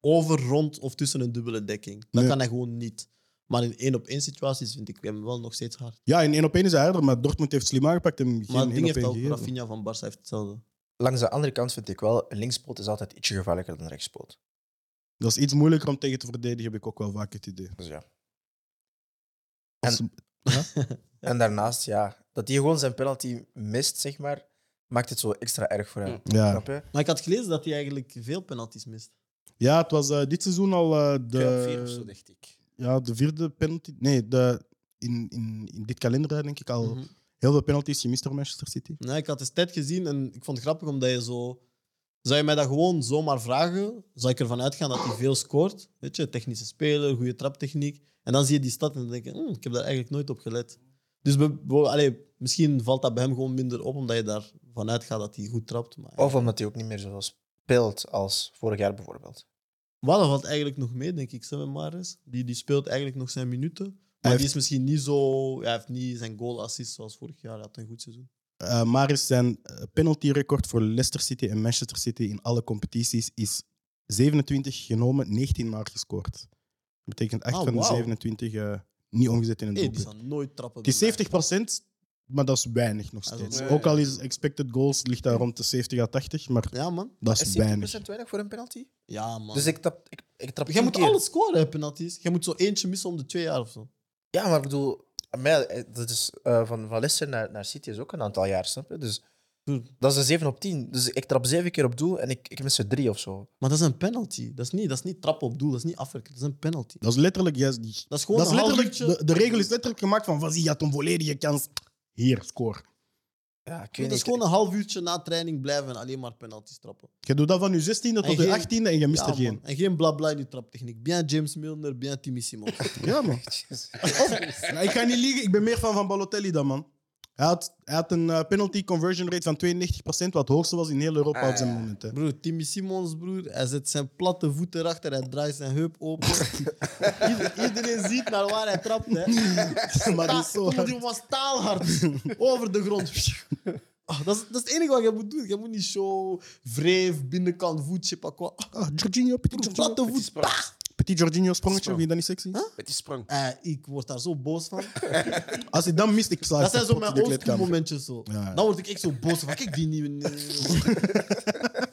Speaker 1: over, rond of tussen een dubbele dekking. Dat
Speaker 2: Nee.
Speaker 1: kan hij gewoon niet. Maar in één op één situaties vind ik hem wel nog steeds hard.
Speaker 2: Ja, in één op één is hij harder, maar Dortmund heeft slim aangepakt en hem geen
Speaker 1: Maar het
Speaker 2: één
Speaker 1: ding
Speaker 2: op
Speaker 1: heeft
Speaker 2: één
Speaker 1: ook
Speaker 2: gegeven.
Speaker 1: Rafinha van Barça heeft hetzelfde.
Speaker 5: Langs de andere kant vind ik wel, een linkspoot is altijd ietsje gevaarlijker dan een rechtspoot.
Speaker 2: Dat is iets moeilijker om tegen te verdedigen, heb ik ook wel vaak het idee.
Speaker 5: Dus ja.
Speaker 2: Als-
Speaker 5: En daarnaast, ja, dat hij gewoon zijn penalty mist, zeg maar, maakt het zo extra erg voor hem.
Speaker 2: ja.
Speaker 5: Snap je?
Speaker 1: Maar ik had gelezen dat hij eigenlijk veel penalties mist.
Speaker 2: Ja, het was eh, dit seizoen al eh,
Speaker 6: Twee op vier of zo,
Speaker 2: de,
Speaker 6: dacht ik.
Speaker 2: ja, de vierde penalty. Nee, de, in, in, in dit kalenderjaar denk ik al
Speaker 1: Mhm.
Speaker 2: heel veel penalties gemist door Manchester City.
Speaker 1: Nee, ik had de stat gezien en ik vond het grappig omdat je zo. Zou je mij dat gewoon zomaar vragen? Zou ik ervan uitgaan dat hij veel scoort? Weet je, technische speler, goede traptechniek. En dan zie je die stad en dan denk je, "Hmm, ik heb daar eigenlijk nooit op gelet. Dus be- be- allee, misschien valt dat bij hem gewoon minder op, omdat je daarvan uitgaat dat hij goed trapt. Maar
Speaker 5: Of omdat hij ook niet meer zo speelt als vorig jaar bijvoorbeeld.
Speaker 1: Wat valt eigenlijk nog mee, denk ik, zo met Maris. Die, die speelt eigenlijk nog zijn minuten. Maar
Speaker 2: heeft-
Speaker 1: die is misschien niet zo... Hij heeft niet zijn goal-assist zoals vorig jaar. Hij had een goed seizoen.
Speaker 2: Eh Maris zijn eh, penaltyrecord voor Leicester City en Manchester City in alle competities is 27 genomen, 19 maar gescoord. Dat betekent 8
Speaker 1: Ah,
Speaker 2: van de
Speaker 1: wauw.
Speaker 2: 27 eh, niet omgezet in een
Speaker 1: Nee, die
Speaker 2: doelpunt.
Speaker 1: zal nooit trappen.
Speaker 2: Het is 70 maar dat is weinig nog
Speaker 1: Ah, Dat is
Speaker 2: steeds.
Speaker 6: ook-
Speaker 2: Ook al is expected goals ligt daar rond de 70 à 80, maar
Speaker 1: Ja, Eh, man.
Speaker 2: dat is
Speaker 5: Is
Speaker 2: weinig.
Speaker 5: 70% weinig voor een penalty?
Speaker 1: Ja, man.
Speaker 5: Dus ik trap, ik, ik trap
Speaker 1: Jij
Speaker 5: tien
Speaker 1: moet
Speaker 5: keer.
Speaker 1: alles scoren, hè, penalties. Jij moet zo eentje missen om de twee jaar of zo.
Speaker 5: Ja, maar ik bedoel, aan mij, eh, dat is, eh, van, van Leicester naar, naar City is ook een aantal jaar, snap je? Dus dat is een 7 op 10. Dus ik trap 7 keer op doel en ik, ik mis er 3 of zo.
Speaker 1: Maar dat is een penalty. Dat is niet, dat is niet trappen op doel, dat is niet afwerken, dat is een penalty.
Speaker 2: Dat is letterlijk, juist die-
Speaker 1: Dat is gewoon
Speaker 2: dat is
Speaker 1: een half
Speaker 2: letterlijk, de,
Speaker 1: uurtje-
Speaker 2: de regel is letterlijk gemaakt van Vazie, je had een volledige kans. Hier, score.
Speaker 5: Ja, ik weet
Speaker 1: Dat
Speaker 5: niet.
Speaker 1: is gewoon een half uurtje na training blijven en alleen maar penalties trappen.
Speaker 2: Je doet dat van je 16e tot
Speaker 1: En
Speaker 2: je
Speaker 1: geen-
Speaker 2: 18e en je mist
Speaker 1: Ja,
Speaker 2: er geen.
Speaker 1: man. En geen blabla in die traptechniek. Bien James Milner, bien Timmy Simon. *laughs*
Speaker 2: Ja, man.
Speaker 5: Jezus.
Speaker 2: Nou, ik ga niet liegen, ik ben meer van Van Balotelli dan, man. Hij had, hij had een eh, penalty conversion rate van 92%, wat het hoogste was in heel Europa op
Speaker 1: Ah.
Speaker 2: zijn moment. Hè.
Speaker 1: Broer, Timmy Simons, broer, hij zet zijn platte voet erachter, hij draait zijn heup
Speaker 2: *laughs*
Speaker 1: open. Ieder- iedereen ziet naar waar hij trapt. Hè.
Speaker 2: *laughs* maar dat
Speaker 1: Ta-
Speaker 2: is zo
Speaker 1: broer,
Speaker 2: hard.
Speaker 1: die was taalhard. Over de grond. Ah, dat, is, dat is het enige wat je moet doen. Je moet niet zo wreef, binnenkant, voet, je pak wat.
Speaker 2: Ah, Jorginho, Petit
Speaker 1: Broer,
Speaker 2: Jorginho.
Speaker 1: platte
Speaker 6: Met die
Speaker 1: voet.
Speaker 6: sprong.
Speaker 2: Petit Jorginho sprongetje,
Speaker 6: Sprong.
Speaker 2: vind je dat niet sexy?
Speaker 6: Met die sprong.
Speaker 1: Eh, ik word daar zo boos
Speaker 2: *laughs*
Speaker 1: van.
Speaker 2: Als hij dan mist, ik sla
Speaker 1: Dat zijn zo
Speaker 2: kapot in de
Speaker 1: mijn oldschool
Speaker 2: kleedkamer.
Speaker 1: momentjes. Zo.
Speaker 2: Ja, ja.
Speaker 1: Dan word ik echt zo boos van, kijk die
Speaker 2: *laughs*
Speaker 1: nieuwe...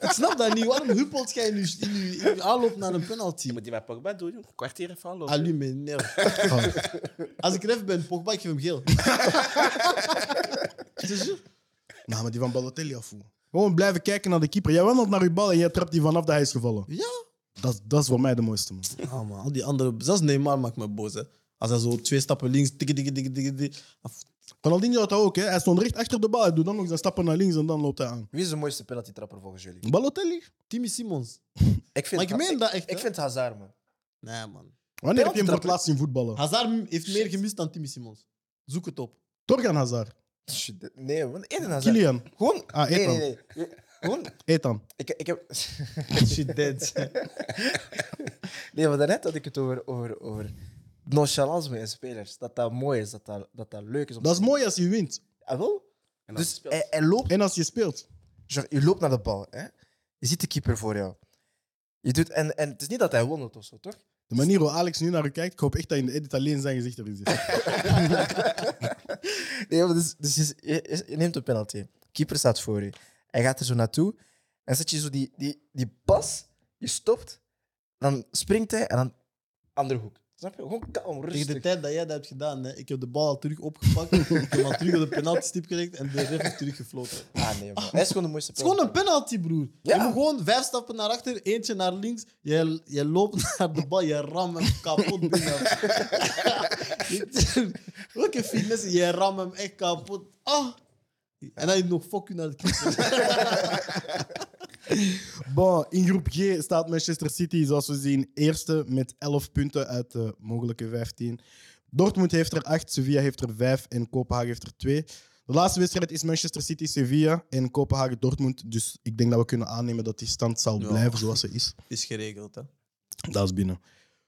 Speaker 1: ik snap dat niet. Waarom huppelt jij nu in je- in je aanloop naar een penalty?
Speaker 6: Je moet die bij Pogba doen, joh. kwartier even aanlopen.
Speaker 1: Allume, nerf. Oh. Als ik ref ben, Pogba, ik geef hem geel.
Speaker 2: Nou, maar die van Balotelli afvoer. Gewoon blijven kijken naar de keeper. Jij wandelt naar uw bal en jij trapt die vanaf dat hij is gevallen.
Speaker 1: Ja.
Speaker 2: Dat, dat is voor mij de mooiste, man.
Speaker 1: Ah, man, al die andere... Zelfs Neymar maakt me boos, hè. Als hij zo twee stappen links... Tikke, tikke, tikke, tikke, tikke. Af-
Speaker 2: Ronaldinho had dat ook, hè. Hij stond recht achter de bal. Hij doet dan nog zijn stappen naar links en dan loopt hij aan.
Speaker 5: Wie is de mooiste penaltytrapper volgens jullie?
Speaker 2: Balotelli?
Speaker 1: Timmy Simons.
Speaker 5: Ik vind,
Speaker 1: Maar ik meen dat echt,
Speaker 5: Ik,
Speaker 1: hè?
Speaker 5: vind Hazard, man.
Speaker 1: Nee, man.
Speaker 2: Wanneer heb je hem voor het
Speaker 5: Penaltytrapper.
Speaker 2: laatst zien voetballen?
Speaker 1: Hazard heeft meer gemist dan Timmy Simons. Zoek het op.
Speaker 2: Torgan Hazard.
Speaker 5: Shit, Nee, man. Eden Hazard.
Speaker 2: Kilian.
Speaker 5: Gewoon...
Speaker 2: Ah,
Speaker 5: nee,
Speaker 2: Ethan.
Speaker 5: nee, nee. Gewoon...
Speaker 2: Ethan.
Speaker 5: Ik, ik heb... *laughs*
Speaker 1: Shit, dead.
Speaker 5: Nee, maar daarnet had ik het over, over, over nonchalance bij spelers. Dat dat mooi is, dat dat, dat, dat leuk is. Om
Speaker 2: Dat is
Speaker 5: te-
Speaker 2: mooi als je wint.
Speaker 5: Ah, wel?
Speaker 6: En dan
Speaker 5: Dus
Speaker 6: speelt.
Speaker 5: hij, hij loopt,
Speaker 2: En als je speelt.
Speaker 5: genre, je loopt naar de bal. Hè? Je ziet de keeper voor jou. Je doet, en, en het is niet dat hij wondert of zo, toch?
Speaker 2: De manier hoe Alex nu naar u kijkt, ik hoop echt dat in de edit alleen zijn gezicht erin zit.
Speaker 5: Nee, maar dus, dus je, je- je neemt een penalty. Keeper staat voor je. Hij gaat er zo naartoe. En zet je zo die, die, die pas, je stopt, dan springt hij en dan andere hoek. Snap je? Gewoon kalm,
Speaker 1: Tegen de
Speaker 5: rustig.
Speaker 1: tijd dat jij dat hebt gedaan, hè, ik heb de bal al terug opgepakt, ik heb hem al terug op de penaltystip gelegd en de ref is teruggefloten. Het
Speaker 5: Ah, nee, *laughs* man. Hij is gewoon de mooiste
Speaker 1: is gewoon een penalty, broer. Je
Speaker 5: Ja.
Speaker 1: moet gewoon vijf stappen naar achter, eentje naar links. Je, je loopt *laughs* naar de bal, je ramt hem kapot binnen. *laughs* Welke fitness, je ramt hem echt kapot. Ah. En dan je nog fuck u naar de
Speaker 2: *laughs*
Speaker 1: kiezer.
Speaker 2: Bon, in groep G staat Manchester City, zoals we zien, eerste met 11 punten uit de mogelijke 15. Dortmund heeft er 8, Sevilla heeft er 5 en Kopenhagen heeft er 2. De laatste wedstrijd is Manchester City-Sevilla en Kopenhagen-Dortmund. Dus ik denk dat we kunnen aannemen dat die stand zal
Speaker 1: Ja.
Speaker 2: blijven zoals ze is.
Speaker 1: Is geregeld, hè?
Speaker 2: Dat is binnen.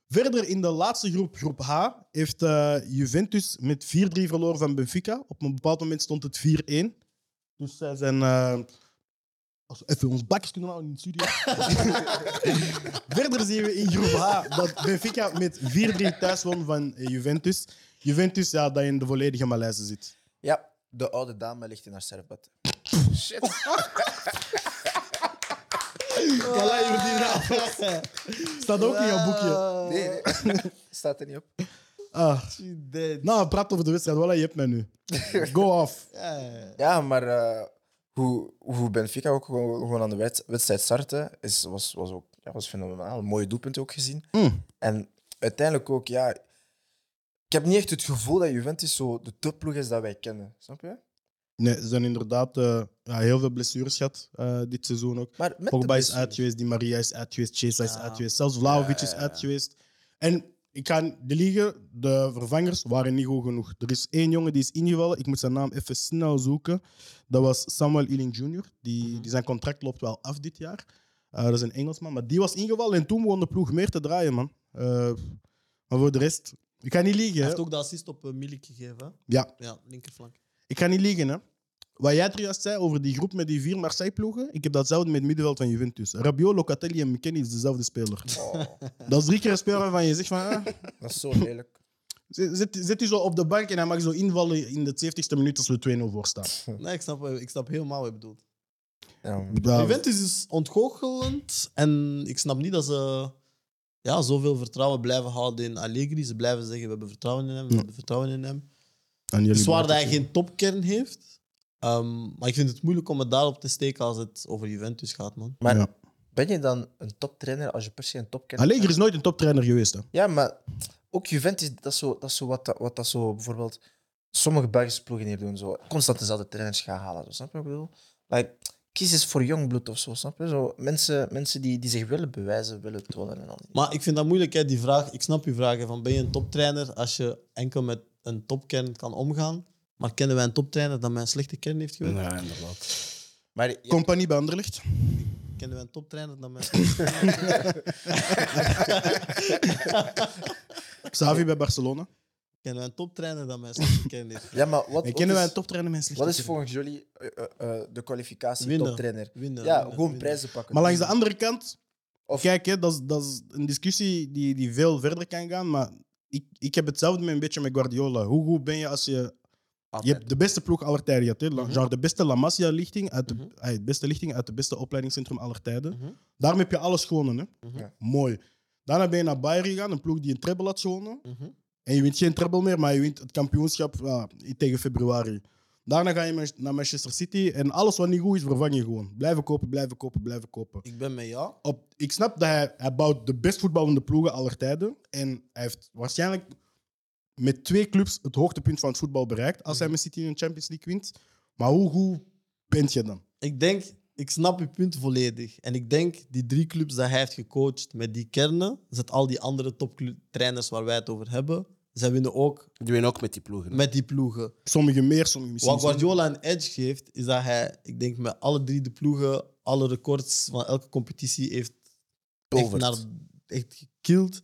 Speaker 2: Verder in de laatste groep, groep H, heeft eh, Juventus met 4-3 verloren van Benfica. Op een bepaald moment stond het 4-1. Dus zij zijn. eh, als we even ons bakjes kunnen houden in de studio. *laughs* Verder zien we in groep H dat Benfica met 4-3 thuis won van eh, Juventus. Juventus, ja, dat in de volledige malaise zit.
Speaker 5: Ja, de oude dame ligt in haar servet.
Speaker 1: Voilà, je verdient dat.
Speaker 2: Staat ook in jouw boekje.
Speaker 1: Ah,
Speaker 5: Nee, nee. *laughs* staat er niet op.
Speaker 2: Ah,
Speaker 1: Dead.
Speaker 2: nou, praat over de wedstrijd. Voilà, je hebt mij nu. Go off.
Speaker 1: Ja.
Speaker 5: Ja, maar eh, hoe, hoe Benfica ook gewoon, gewoon aan de wed- wedstrijd startte, is, was, was ook ja, was fenomenaal. Mooie doelpunt ook gezien.
Speaker 2: Mm.
Speaker 5: En uiteindelijk ook, ja... Ik heb niet echt het gevoel dat Juventus zo de topploeg is dat wij kennen. Snap je?
Speaker 2: Nee, ze zijn inderdaad eh, ja, heel veel blessures gehad eh, dit seizoen ook.
Speaker 5: Maar met
Speaker 2: Pogba
Speaker 5: de
Speaker 2: is uit geweest, Di Maria is uit geweest, Chiesa is
Speaker 1: Ja.
Speaker 2: uit geweest, zelfs Vlaovic is uit geweest. En ik ga de liegen, de vervangers waren niet goed genoeg. Er is één jongen die is ingevallen, ik moet zijn naam even snel zoeken. Dat was Samuel Ealing Jr., die,
Speaker 1: Mhm.
Speaker 2: die zijn contract loopt wel af dit jaar. Eh, dat is een Engelsman, maar die was ingevallen en toen begon de ploeg meer te draaien, man. Eh, maar voor de rest, ik ga niet liegen.
Speaker 1: Hij
Speaker 2: hè.
Speaker 1: heeft ook de assist op eh, Milik gegeven. hè?
Speaker 2: Ja.
Speaker 1: Ja, linkerflank.
Speaker 2: Ik ga niet liegen, hè. Wat jij er juist zei over die groep met die vier Marseille-ploegen, ik heb datzelfde met het middenveld van Juventus. Rabiot, Locatelli en McKennie is dezelfde speler.
Speaker 5: Oh,
Speaker 2: *laughs* Dat is drie keer een speler waarvan je zegt van... ah,
Speaker 5: dat is zo lelijk.
Speaker 2: zet- zet, zet u zo op de bank en hij mag zo invallen in de 70ste minuut als we 2-0 voor staan.
Speaker 1: Nee, ik snap, wat- ik snap helemaal wat je bedoelt.
Speaker 5: Ja, man.
Speaker 1: Juventus is ontgoochelend en ik snap niet dat ze ja, zoveel vertrouwen blijven houden in Allegri. Ze blijven zeggen, we hebben vertrouwen in hem, we
Speaker 2: Ja.
Speaker 1: hebben vertrouwen in hem.
Speaker 2: En
Speaker 1: Het
Speaker 2: jullie
Speaker 1: is waar dat hij
Speaker 2: blijven-
Speaker 1: geen topkern heeft, ehm, maar ik vind het moeilijk om het daarop te steken als het over Juventus gaat, man.
Speaker 5: Maar
Speaker 2: Ja.
Speaker 5: ben je dan een toptrainer als je per se een topkenner
Speaker 2: Allegri is nooit een toptrainer geweest. Hè.
Speaker 5: Ja, maar ook Juventus, dat is zo, dat is zo wat, dat- wat dat zo bijvoorbeeld sommige Belgische ploegen hier doen. Zo, constant dezelfde trainers gaan halen. Zo, snap je wat ik bedoel? Like, kies eens voor jong bloed of zo, snap je? Zo, mensen mensen die, die zich willen bewijzen, willen tonen en al die
Speaker 1: Maar ik vind dat moeilijk, hè, die vraag. Ik snap je vraag, hè, van ben je een toptrainer als je enkel met een topkern kan omgaan? Maar kennen wij een toptrainer dat mij een slechte kern heeft gewerkt?
Speaker 6: Ja, inderdaad.
Speaker 5: Maar je-
Speaker 2: Compagnie bij Anderlicht.
Speaker 1: Kennen wij een toptrainer dat mij... *coughs*
Speaker 2: Xavi bij Barcelona.
Speaker 1: kennen wij een toptrainer dat mij een slechte kern heeft
Speaker 5: ja, maar wat,
Speaker 2: En
Speaker 5: wat
Speaker 2: kennen wij
Speaker 5: is-
Speaker 2: een toptrainer met een slechte
Speaker 5: wat is
Speaker 2: kern?
Speaker 5: volgens jullie eh, eh, eh, de kwalificatie
Speaker 1: Winnen.
Speaker 5: toptrainer?
Speaker 1: Winnen,
Speaker 5: Ja,
Speaker 1: winnen,
Speaker 5: gewoon
Speaker 1: winnen.
Speaker 5: prijzen pakken.
Speaker 2: Maar langs de andere kant,
Speaker 5: Of-
Speaker 2: kijk, hè, dat, is, dat is een discussie die, die veel verder kan gaan. Maar ik, ik heb hetzelfde met een beetje met Guardiola. Hoe goed ben je als je. Je hebt de beste ploeg aller tijden gehad. hè. La-
Speaker 1: Mhm.
Speaker 2: genre de beste La Masia-lichting uit, de- ay, de beste lichting uit de beste opleidingscentrum aller tijden.
Speaker 1: Mhm.
Speaker 2: Daarom heb je alles gewonnen. Hè?
Speaker 1: Mhm.
Speaker 5: Ja.
Speaker 2: Mooi. Daarna ben je naar Bayern gegaan, een ploeg die een treble had gewonnen.
Speaker 1: Mhm.
Speaker 2: En je wint geen treble meer, maar je wint het kampioenschap ja, tegen februari. Daarna ga je ma- naar Manchester City en alles wat niet goed is, vervang je gewoon. Blijven kopen, blijven kopen, blijven kopen
Speaker 1: Ik ben met jou.
Speaker 2: op, ik snap dat hij, hij bouwt de best voetballende ploegen aller tijden. En hij heeft waarschijnlijk met twee clubs het hoogtepunt van het voetbal bereikt. Als hij
Speaker 6: Mhm.
Speaker 2: met City in de Champions League wint. Maar hoe goed bent je dan?
Speaker 1: Ik denk, ik snap je punt volledig. En ik denk, die drie clubs dat hij heeft gecoacht met die kernen, zet al die andere toptrainers waar wij het over hebben, zij winnen ook
Speaker 6: Die winnen ook met die ploegen.
Speaker 1: met die ploegen.
Speaker 2: Sommigen meer, sommigen Dus misschien.
Speaker 1: Wat Guardiola een edge geeft, is dat hij, ik denk, met alle drie de ploegen, alle records van elke competitie heeft echt,
Speaker 6: Tovert.
Speaker 1: naar, echt gekild.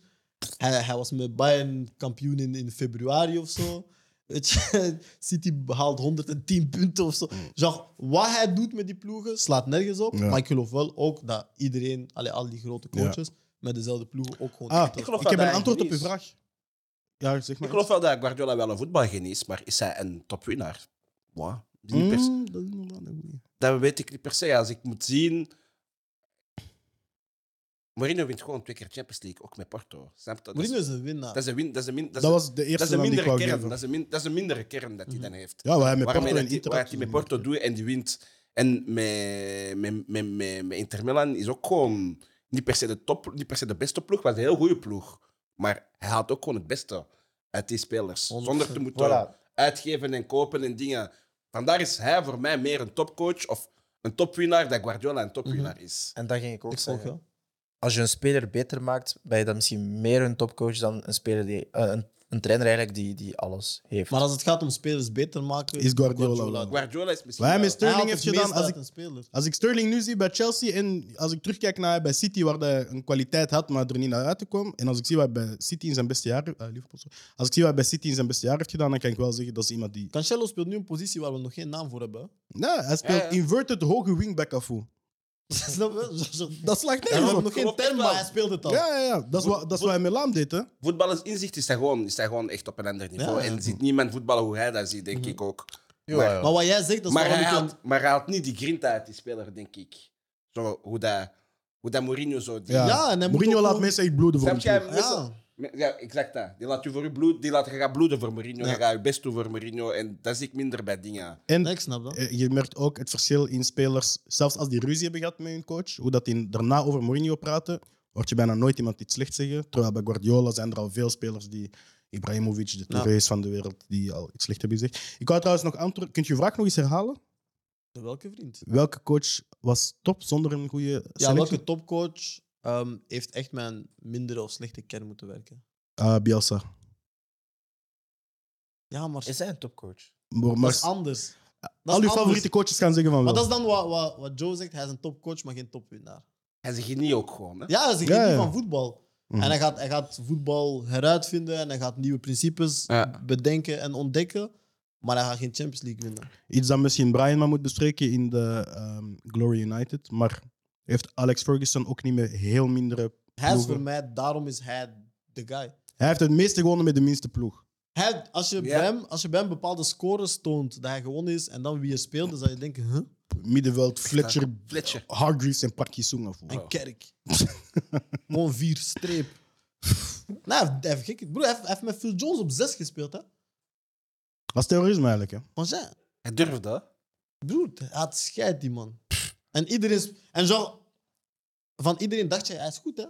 Speaker 1: Hij, hij was met Bayern kampioen in, in februari of zo. Weet je, *laughs* City behaalt 110 punten of zo. Genre, wat hij doet met die ploegen slaat nergens op.
Speaker 2: Hmm. Ja.
Speaker 1: Maar ik geloof wel ook dat iedereen, allee, al die grote coaches, met dezelfde ploegen ook gewoon.
Speaker 2: Ah,
Speaker 1: titels-
Speaker 2: ik,
Speaker 6: Ik geloof
Speaker 2: heb
Speaker 6: dat
Speaker 2: een
Speaker 6: hij
Speaker 2: antwoord op
Speaker 6: geniet.
Speaker 2: uw vraag. Ja, zeg maar.
Speaker 6: Ik geloof wel dat Guardiola wel een voetbalgenie is, maar is hij een topwinnaar? Wow. Die niet per se-
Speaker 2: Mm, dat is nog wel een goeie.
Speaker 6: Dat weet ik niet per se. Als ik moet zien... Mourinho wint gewoon twee keer Champions League, ook met Porto. Snap je? Dat is-
Speaker 1: Mourinho is een
Speaker 6: Dat
Speaker 1: winnaar.
Speaker 6: is een win... Dat is een min... dat is
Speaker 2: Dat was de
Speaker 6: dat
Speaker 2: eerste
Speaker 6: is een
Speaker 2: naam die ik
Speaker 6: mindere
Speaker 2: wou
Speaker 6: kern.
Speaker 2: geven. Mhm.
Speaker 6: Dat is, een min- dat is een mindere kern dat hij dan heeft.
Speaker 2: Ja, waar hij met
Speaker 6: Waarmee
Speaker 2: Porto en
Speaker 6: dat die-
Speaker 2: Inter...
Speaker 6: waar hij met Porto doet en die wint. En met, met, met, met, met Inter Milan is ook gewoon niet per se de, top, niet per se de beste ploeg, maar een heel goede ploeg. Maar hij haalt ook gewoon het beste uit die spelers. Zonder te moeten
Speaker 5: Voilà.
Speaker 6: uitgeven en kopen en dingen. Vandaar is hij voor mij meer een topcoach of een topwinnaar dat Guardiola een topwinnaar
Speaker 2: Mhm.
Speaker 6: is.
Speaker 5: En dat ging ik ook
Speaker 1: Ik volg
Speaker 5: zeggen.
Speaker 1: wel.
Speaker 5: Als je een speler beter maakt, ben je dan misschien meer een topcoach dan een, speler die, eh, een, een trainer eigenlijk die, die alles heeft.
Speaker 1: Maar als het gaat om spelers beter maken,
Speaker 2: Is Guardiola wel.
Speaker 6: Guardiola is misschien...
Speaker 2: Waar hij
Speaker 6: wel-
Speaker 2: met Sterling heeft gedaan... Als
Speaker 1: als
Speaker 2: ik,
Speaker 1: een speler.
Speaker 2: als ik Sterling nu zie bij Chelsea en als ik terugkijk naar bij City, waar hij een kwaliteit had, maar er niet naar uit te komen. En als ik zie wat hij bij City in zijn beste jaar... eh, Liverpool, sorry. als ik zie wat hij bij City in zijn beste jaar heeft gedaan, dan kan ik wel zeggen dat is iemand die...
Speaker 1: Cancelo speelt nu een positie waar we nog geen naam voor *laughs* hebben.
Speaker 2: Nee, hij speelt
Speaker 6: Ja, ja.
Speaker 2: inverted hoge wingback af. hoe.
Speaker 1: Snap je?
Speaker 2: Dat slaagt
Speaker 1: Daar hebben
Speaker 2: nergens
Speaker 1: we
Speaker 2: op.
Speaker 1: nog geen term, maar hij speelt het al.
Speaker 2: Ja, ja, ja. Dat is wat, dat is wat hij met Laam deed, hè.
Speaker 6: voetballers inzicht is hij gewoon, is hij gewoon echt op een ander niveau.
Speaker 1: Ja, ja.
Speaker 6: En ziet niemand voetballen hoe hij dat ziet, denk
Speaker 2: Mhm.
Speaker 6: ik ook.
Speaker 5: Ja,
Speaker 6: maar,
Speaker 5: ja.
Speaker 1: Maar wat jij zegt, dat is
Speaker 6: maar
Speaker 1: waarom
Speaker 6: hij
Speaker 1: ik hem-
Speaker 6: haalt, maar hij haalt niet die grinta uit die speler, denk ik. Zo, hoe, dat, hoe dat Mourinho zo... Die,
Speaker 2: Ja.
Speaker 1: Ja, en hij moet ook
Speaker 2: Mourinho laat
Speaker 1: gewoon-
Speaker 2: mensen echt bloeden voor
Speaker 6: Snap
Speaker 2: hem.
Speaker 6: jij?
Speaker 2: terug.
Speaker 1: Ja.
Speaker 6: Mensen- Me- ja, exact dat. Die laat je voor je bloed, die laat je gaan bloeden voor Mourinho.
Speaker 1: Ja.
Speaker 6: Je gaat je best doen voor Mourinho. En dat zie ik minder bij dingen.
Speaker 2: En
Speaker 1: Nee, ik snap dat.
Speaker 2: eh, je merkt ook het verschil in spelers, zelfs als die ruzie hebben gehad met hun coach, hoe dat die daarna over Mourinho praten, hoort je bijna nooit iemand iets slecht zeggen. Terwijl bij Guardiola zijn er al veel spelers die... Ibrahimovic, de
Speaker 1: Ja.
Speaker 2: Touré's van de wereld, die al iets slecht hebben gezegd. Ik wou trouwens nog antwoorden. Kunt je je vraag nog eens herhalen?
Speaker 1: Welke vriend?
Speaker 2: Welke coach was top zonder een goede selectie?
Speaker 1: Ja, welke topcoach ehm, heeft echt met een mindere of slechte kern moeten werken?
Speaker 2: Ah, Bielsa.
Speaker 1: Ja, maar
Speaker 5: Is hij een topcoach?
Speaker 2: Maar,
Speaker 1: dat
Speaker 2: maar
Speaker 1: is anders. Dat is
Speaker 2: al uw
Speaker 1: anders.
Speaker 2: favoriete coaches gaan zeggen van wel.
Speaker 1: Maar dat is dan wat, wat, wat Joe zegt, hij is een topcoach, maar geen topwinnaar.
Speaker 6: Hij is een genie ook gewoon. Hè?
Speaker 1: Ja, hij is een
Speaker 2: Ja,
Speaker 1: genie
Speaker 2: ja.
Speaker 1: van voetbal.
Speaker 2: Mhm.
Speaker 1: En hij gaat, hij gaat voetbal heruitvinden en hij gaat nieuwe principes
Speaker 6: Ja.
Speaker 1: bedenken en ontdekken, maar hij gaat geen Champions League winnen.
Speaker 2: Iets dat misschien Brian maar moet bespreken in de ehm, Glory United. Maar heeft Alex Ferguson ook niet meer heel mindere
Speaker 1: Hij is
Speaker 2: ploegen?
Speaker 1: voor mij, daarom is hij de guy.
Speaker 2: Hij heeft het meeste gewonnen met de minste ploeg.
Speaker 1: Hij, als, je
Speaker 6: Ja.
Speaker 1: bij hem, als je bij hem bepaalde scores toont dat hij gewonnen is en dan wie je speelt, dan zou je denken, huh?
Speaker 2: Middenveld, Fletcher,
Speaker 6: Fletcher.
Speaker 2: Hargreaves en Park Ji-sung. of-
Speaker 6: Oh.
Speaker 1: En Kerk. *laughs* Gewoon vier, streep.
Speaker 2: *laughs*
Speaker 1: nou, hij heeft- hij heeft, gek, broer, hij, heeft, hij heeft met Phil Jones op zes gespeeld, hè?
Speaker 2: Dat is terrorisme eigenlijk. Hè?
Speaker 1: Want ja,
Speaker 6: Hij durfde. hè?
Speaker 1: broer, hij had scheid, die man. En iedereen... is- En zo... Van iedereen dacht je, hij is goed, hè?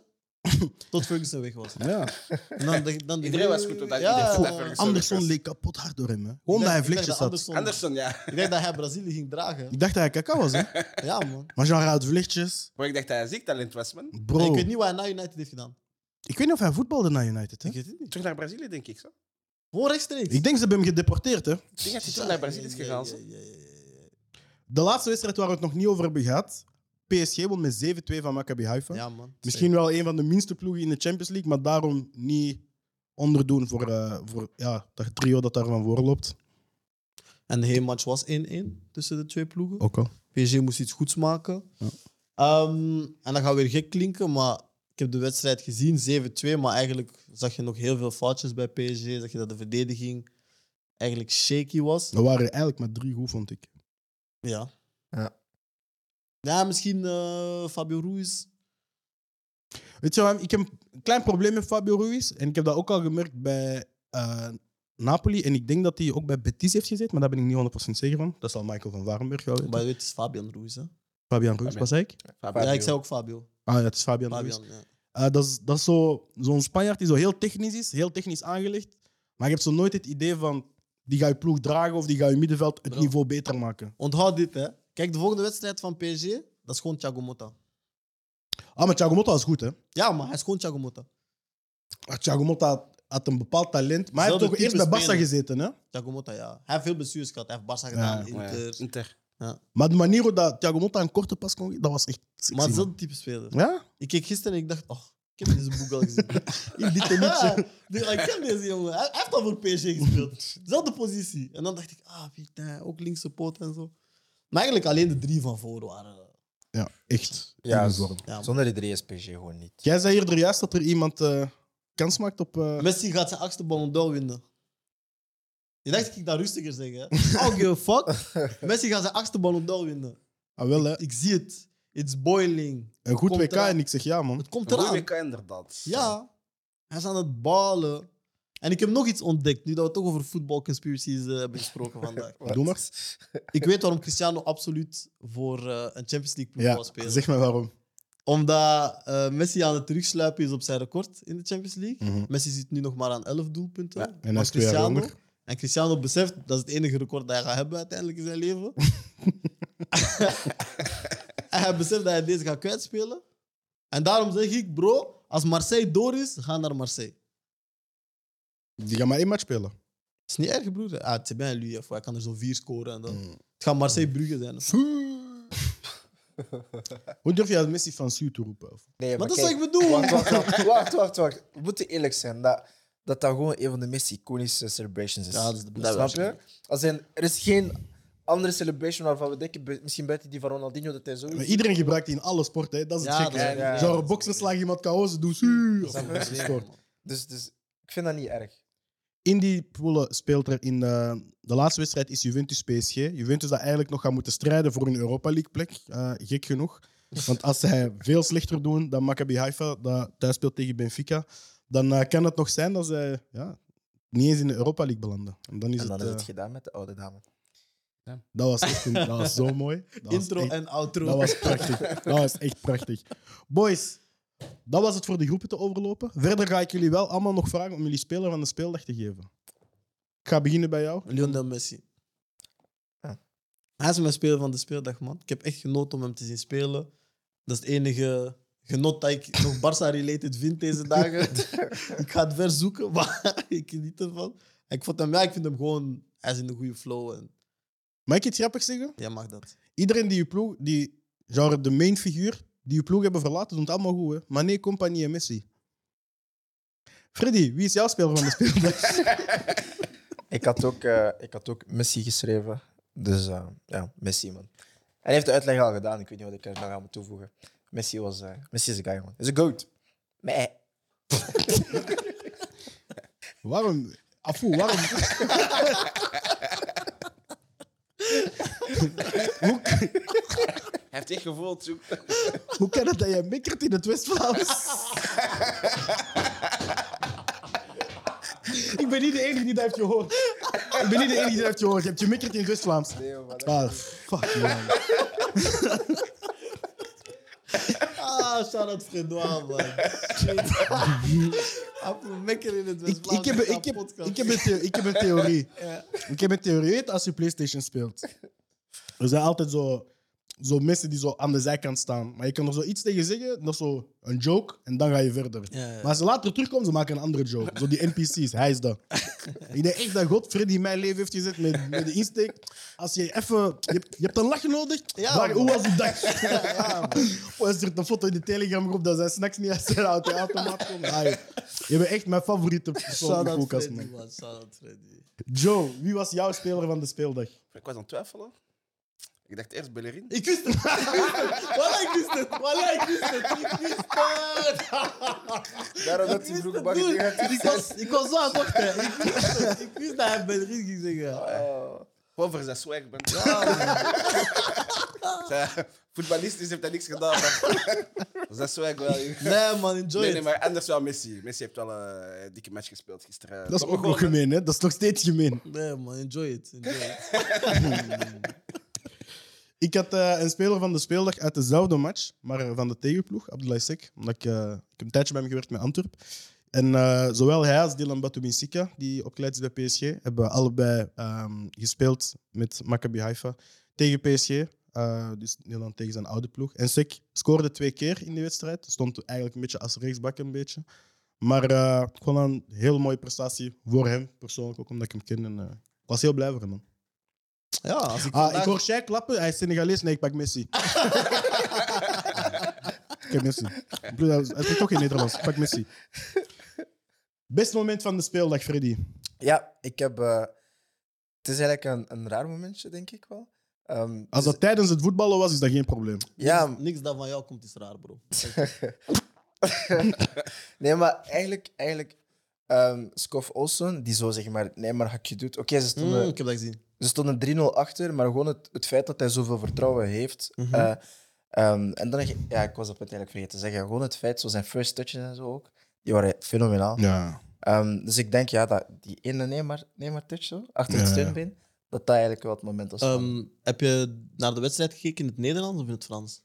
Speaker 1: Tot Ferguson weg was.
Speaker 2: Ja.
Speaker 1: En dan, dacht- dan
Speaker 6: Iedereen was goed, omdat iedereen vond dat Ferguson-
Speaker 2: Anderson leek kapot hard door hem. Hè? Gewoon
Speaker 1: Ik
Speaker 2: dat hij
Speaker 1: dacht- ik dacht
Speaker 2: vlechtjes
Speaker 1: Anderson-
Speaker 2: had.
Speaker 6: Anderson, ja. *laughs*
Speaker 1: Ik dacht dat hij Brazilië ging dragen.
Speaker 2: Ik dacht dat hij kaka was. Hè?
Speaker 1: Ja, man.
Speaker 2: Maar genre hij had vlechtjes.
Speaker 6: Maar ik dacht dat hij een ziek talent was, man.
Speaker 2: Bro.
Speaker 1: Ik weet niet wat hij na United heeft gedaan.
Speaker 2: niet of hij voetbalde naar United. Hè?
Speaker 1: Ik weet het niet.
Speaker 6: Terug naar Brazilië, denk ik. Zo.
Speaker 1: Gewoon rechtstreeks.
Speaker 2: Ik denk ze hebben hem gedeporteerd, hè.
Speaker 6: Ik denk dat hij toen naar Brazilië is
Speaker 1: Ja,
Speaker 6: gegaan.
Speaker 1: ja,
Speaker 6: zo.
Speaker 1: ja, ja, ja, ja.
Speaker 2: De laatste wedstrijd waar we het nog niet over hebben gehad. PSG won met 7-2 van Maccabi Haifa.
Speaker 1: Ja, man.
Speaker 2: Misschien wel een van de minste ploegen in de Champions League, maar daarom niet onderdoen voor, eh, voor ja, dat trio dat daar van voorloopt.
Speaker 1: En de hele match was 1-1 tussen de twee ploegen.
Speaker 2: Ook al.
Speaker 1: PSG moest iets goeds maken. Ehm, en dat gaat weer gek klinken, maar ik heb de wedstrijd gezien, 7-2. Maar eigenlijk zag je nog heel veel foutjes bij PSG. Zag je dat de verdediging eigenlijk shaky was.
Speaker 2: Er waren eigenlijk maar drie goed, vond ik.
Speaker 1: Ja.
Speaker 5: Ja.
Speaker 1: Ja, misschien eh, Fabio Ruiz.
Speaker 2: Weet je wat, ik heb een klein probleem met Fabio Ruiz. En ik heb dat ook al gemerkt bij eh, Napoli. En ik denk dat hij ook bij Betis heeft gezeten, maar daar ben ik niet 100% zeker van. Dat zal Michael van Warenberg wel weten.
Speaker 1: Maar je weet, het is Fabian Ruiz. Hè?
Speaker 2: Fabian Ruiz,
Speaker 6: Fabian.
Speaker 2: was ik?
Speaker 6: Fabio.
Speaker 1: Ja, ik zei ook Fabio.
Speaker 2: Ah ja, het is Fabian, Ruiz.
Speaker 1: Fabian, ja.
Speaker 2: Eh, dat is, dat is zo, zo'n Spanjaard die zo heel technisch is, heel technisch aangelegd. Maar je hebt zo nooit het idee van, die gaat je ploeg dragen of die gaat je middenveld het
Speaker 1: Bro.
Speaker 2: niveau beter maken.
Speaker 1: Onthoud dit, hè. Kijk, de volgende wedstrijd van PSG, dat is gewoon Thiago Motta.
Speaker 2: Ah, maar Thiago Motta is goed, hè.
Speaker 1: Ja, maar hij is gewoon Thiago Motta.
Speaker 2: Maar Thiago Motta had, had een bepaald talent. Maar hij heeft
Speaker 1: Zelfde
Speaker 2: toch eerst bij
Speaker 1: type
Speaker 2: Barca
Speaker 1: speler.
Speaker 2: gezeten, hè.
Speaker 1: Thiago Motta, ja. Hij heeft veel bestuurs gehad. Hij heeft Barca gedaan,
Speaker 6: Oh ja,
Speaker 1: Inter.
Speaker 6: Inter.
Speaker 2: Maar de manier hoe dat Thiago Motta een korte pas kon geven, dat was echt sexy,
Speaker 1: Maar
Speaker 2: man.
Speaker 1: hetzelfde type speler.
Speaker 2: Ja?
Speaker 1: Ik keek gisteren en ik dacht, oh, ik heb deze boek al gezien.
Speaker 2: In
Speaker 1: Ja,
Speaker 2: dit tennisje.
Speaker 1: dus ik ken deze jongen. Hij hij heeft al voor PSG gespeeld. Zelfde positie. En dan dacht ik, ah, putain, ook linkse poot en zo. Maar eigenlijk alleen de drie van voor waren...
Speaker 2: Ja, echt.
Speaker 5: Ja,
Speaker 2: In vorm.
Speaker 1: Ja,
Speaker 5: zonder die drie is PSG gewoon niet.
Speaker 2: Jij zei eerder juist dat er iemand eh, kans maakt op... eh,
Speaker 1: Messi gaat zijn achtste Ballon d'Or winnen. Je dacht dat ik dat rustiger zeg, hè? Oh, give a fuck. Messi gaat zijn achtste Ballon d'Or winnen.
Speaker 2: Ah, wel, hè.
Speaker 1: Ik zie het. It's boiling.
Speaker 2: Een goed
Speaker 1: Komt
Speaker 2: WK
Speaker 1: eraan.
Speaker 2: en ik zeg ja, man.
Speaker 1: Het komt
Speaker 6: Een
Speaker 1: eraan.
Speaker 6: goeie WK inderdaad.
Speaker 1: Ja. Hij is aan het balen. En ik heb nog iets ontdekt, nu dat we toch over voetbalconspiracies eh, hebben gesproken vandaag.
Speaker 2: Doe maar.
Speaker 1: Ik weet waarom Cristiano absoluut voor eh, een Champions League ploeg
Speaker 2: Ja,
Speaker 1: wou spelen.
Speaker 2: zeg maar waarom.
Speaker 1: Omdat eh, Messi aan het terugsluipen is op zijn record in de Champions League.
Speaker 2: Mhm.
Speaker 1: Messi zit nu nog maar aan 11 doelpunten.
Speaker 2: En hij
Speaker 1: Maar
Speaker 2: is twee jaar
Speaker 1: Cristiano,
Speaker 2: jonger.
Speaker 1: en Cristiano beseft dat is het enige record dat hij gaat hebben uiteindelijk in zijn
Speaker 2: *laughs*
Speaker 1: leven. en hij beseft dat hij deze gaat kwijtspelen. En daarom zeg ik, bro, als Marseille door is, ga naar Marseille.
Speaker 2: Die gaan maar één match spelen.
Speaker 1: Het is niet erg, broer. Ah, het is bij lui, of hij kan er zo vier scoren. En dan.
Speaker 2: Mm.
Speaker 1: Het gaat Marseille-Brugge zijn. of zo.
Speaker 2: Hoe durf je als Messi van Sue te roepen? Of?
Speaker 5: Nee,
Speaker 1: Maar dat is
Speaker 5: kijk,
Speaker 1: wat ik bedoel.
Speaker 5: Wacht, wacht, wacht, wacht, wacht, wacht. We moeten eerlijk zijn. Dat, dat dat gewoon een van de meest iconische celebrations is.
Speaker 1: Ja, dat is de beste.
Speaker 5: Snap je? Als in, er is geen andere celebration waarvan we denken, bu- misschien buiten die van Ronaldinho, dat hij zo
Speaker 2: Maar iedereen gebruikt die in alle sporten, hè. dat is het
Speaker 1: Ja,
Speaker 2: gekke.
Speaker 1: dat is-
Speaker 2: hè.
Speaker 5: ja, ja,
Speaker 2: Genre
Speaker 1: dat is-
Speaker 2: boksers slagen iemand KO, ze doen Sue. Of
Speaker 1: Dat is
Speaker 2: gescoord.
Speaker 1: man.
Speaker 5: Dus, dus ik vind dat niet erg.
Speaker 2: In die poelen speelt er in eh, de laatste wedstrijd is Juventus PSG. Juventus dat eigenlijk nog gaat moeten strijden voor een Europa League plek. Eh, gek
Speaker 5: *laughs*
Speaker 2: genoeg. Want als zij veel slechter doen dan Maccabi Haifa, dat thuis speelt tegen Benfica, dan eh, kan het nog zijn dat zij ja, niet eens in de Europa League belanden. En dan is
Speaker 5: En dan
Speaker 2: het,
Speaker 5: is het
Speaker 2: eh,
Speaker 5: gedaan met de oude dame.
Speaker 2: dat, was echt een- dat was
Speaker 5: *laughs*
Speaker 2: zo mooi. Dat was
Speaker 1: Intro
Speaker 2: echt-
Speaker 1: en outro.
Speaker 2: Dat was prachtig. Dat was echt prachtig. Boys, dat was het voor de groepen te overlopen. Verder ga ik jullie wel allemaal nog vragen om jullie speler van de speeldag te geven. Ik ga beginnen bij jou.
Speaker 1: *laughs* Lionel Messi.
Speaker 5: Ah.
Speaker 1: Hij is mijn speler van de speeldag, man. Ik heb echt genoten om hem te zien spelen. Dat is het enige genot dat ik nog *laughs* Barça-related vind deze
Speaker 2: *laughs*
Speaker 1: dagen. ik ga het ver zoeken, maar *laughs* ik geniet ervan. En Ik, vond hem, ja, ik vind hem gewoon... Hij is in de goede flow en
Speaker 2: Mag ik iets grappigs zeggen?
Speaker 1: jij mag dat.
Speaker 2: Iedereen die je ploeg, die, genre de main figuur, die je ploeg hebben verlaten, doet het allemaal goed. Hè? Mané, Compagnie en Messi. Freddy, wie is jouw speler van de speeldag? *laughs*
Speaker 5: Ik had ook, eh, ik had ook Messi geschreven. Dus eh, ja, Messi, man. Hij heeft de uitleg al gedaan. Ik weet niet wat ik er nog aan moet toevoegen. Messi, was, eh, Messi is een guy, man. Is een goat. Meh.
Speaker 2: waarom? Afu, waarom?
Speaker 6: Hij heeft echt gevoeld, zo. *laughs*
Speaker 2: Hoe kan het dat jij mikkert in het *laughs* West-Vlaams? ik ben niet de enige die dat heeft gehoord. Ik ben niet de enige die dat heeft gehoord. Je hebt je mikkert in het West-Vlaams. Ah, fuck man.
Speaker 1: Ah, shout-out Fredois,
Speaker 2: *laughs*
Speaker 1: man. Shit. Appel mekker in het
Speaker 2: Ik,
Speaker 1: West-Vlaams.
Speaker 2: ik, heb, ik, heb, ik, heb een theo- ik heb een
Speaker 1: *laughs*
Speaker 2: theorie. Ik heb een theorie. Weet als je PlayStation speelt, er zijn altijd zo zo mensen die zo aan de zijkant staan. Maar je kan er zo iets tegen zeggen, nog zo een joke, en dan ga je verder.
Speaker 1: Ja,
Speaker 2: Maar als ze later terugkomen, ze maken een andere joke. Zo die NPC's, hij is
Speaker 1: *laughs*
Speaker 2: dat. ik denk echt dat God Freddy mijn leven heeft gezet met, met de insteek. Als je even... Je, hebt- je hebt een lach nodig.
Speaker 1: Ja,
Speaker 2: Waar- hoe
Speaker 1: man.
Speaker 2: was die
Speaker 1: *laughs*
Speaker 2: dag? ja, *laughs* Hij stuurt een foto in de Telegram-groep dat zijn snacks niet uit zijn uit de automaat komen. Ah, joh. je bent echt mijn favoriete persoon in de
Speaker 1: Shout-out
Speaker 2: koelkast,
Speaker 1: Freddy,
Speaker 2: man.
Speaker 1: man. Shout-out Freddy.
Speaker 2: Joe, wie was jouw speler van de speeldag?
Speaker 6: Ik was aan het twijfelen. Ik dacht eerst Bellerin.
Speaker 1: Ik wist het. Wallah, ik wist het. Wallah, ik wist het. Ik wist het.
Speaker 5: Daarom dat
Speaker 1: Ik
Speaker 5: die
Speaker 1: wist
Speaker 5: *laughs* vroeg
Speaker 1: het,
Speaker 5: bang
Speaker 1: dude.
Speaker 5: dingen uit
Speaker 1: Ik was, ik was zo aan het wachten. Ik wist het. Ik wist dat hij Bellerin ging zeggen.
Speaker 6: Gewoon voor zijn swag, man. *laughs* Zijn Voetballistisch heeft hij niks gedaan, maar *laughs* voor zijn swag wel.
Speaker 1: Nee, man, enjoy
Speaker 6: Nee,
Speaker 1: it.
Speaker 6: nee, maar anders wel Messi. Messi heeft wel eh, een dikke match gespeeld gisteren.
Speaker 2: Dat is ook nog gemeen, hè? Dat is nog steeds gemeen.
Speaker 1: Nee, man, enjoy it. Enjoy it.
Speaker 2: Ik had eh, een speler van de speeldag uit dezelfde match, maar eh, van de tegenploeg, Abdoulaye Sek. Omdat ik, eh, ik heb een tijdje bij hem gewerkt met Antwerp. En eh, zowel hij als Dylan Batubinsika, die opgeleid is bij PSG, hebben allebei ehm, gespeeld met Maccabi Haifa tegen PSG. Eh, dus Dylan tegen zijn oude ploeg. En Sek scoorde twee keer in die wedstrijd. Stond eigenlijk een beetje als rechtsbak een beetje. Maar eh, gewoon een heel mooie prestatie voor hem persoonlijk, ook omdat ik hem ken. En, eh, ik was heel blij voor hem. man.
Speaker 1: Ja, als ik
Speaker 2: Ah,
Speaker 1: vandaag-
Speaker 2: ik hoor Shaq klappen. Hij is Senegalees. Nee, ik pak Messi. ik heb Messi. Ik bedoel, Hij spreekt ook in Nederlands. Ik pak Messi. Best moment van de speeldag, Freddy.
Speaker 5: Ja, ik heb. eh, het is eigenlijk een, een raar momentje, denk ik wel. Ehm,
Speaker 2: Als
Speaker 5: dus-
Speaker 2: Ah, dat tijdens het voetballen was, is dat geen probleem.
Speaker 5: ja,
Speaker 1: Niks dat van jou komt is raar, bro.
Speaker 5: nee, maar eigenlijk, eigenlijk ehm Skof Olsen, die zo zeg maar, nee, maar hakje doet. Oké, ze stonden,
Speaker 1: Mm, ik heb dat gezien.
Speaker 5: ze stonden 3-0 achter, maar gewoon het, het feit dat hij zoveel vertrouwen heeft.
Speaker 1: Mhm.
Speaker 5: eh, ehm, en dan, ja, ik was dat punt eigenlijk vergeten te zeggen. Gewoon het feit, zo zijn first touches en zo ook, die waren fenomenaal.
Speaker 2: Ja.
Speaker 5: Ehm, dus ik denk, ja, dat die ene Neymar, Neymar touch zo, achter
Speaker 2: Ja,
Speaker 5: het
Speaker 2: ja.
Speaker 5: steunbeen, dat dat eigenlijk wel het moment was van
Speaker 1: Ehm, heb je naar de wedstrijd gekeken in het Nederlands of in het Frans?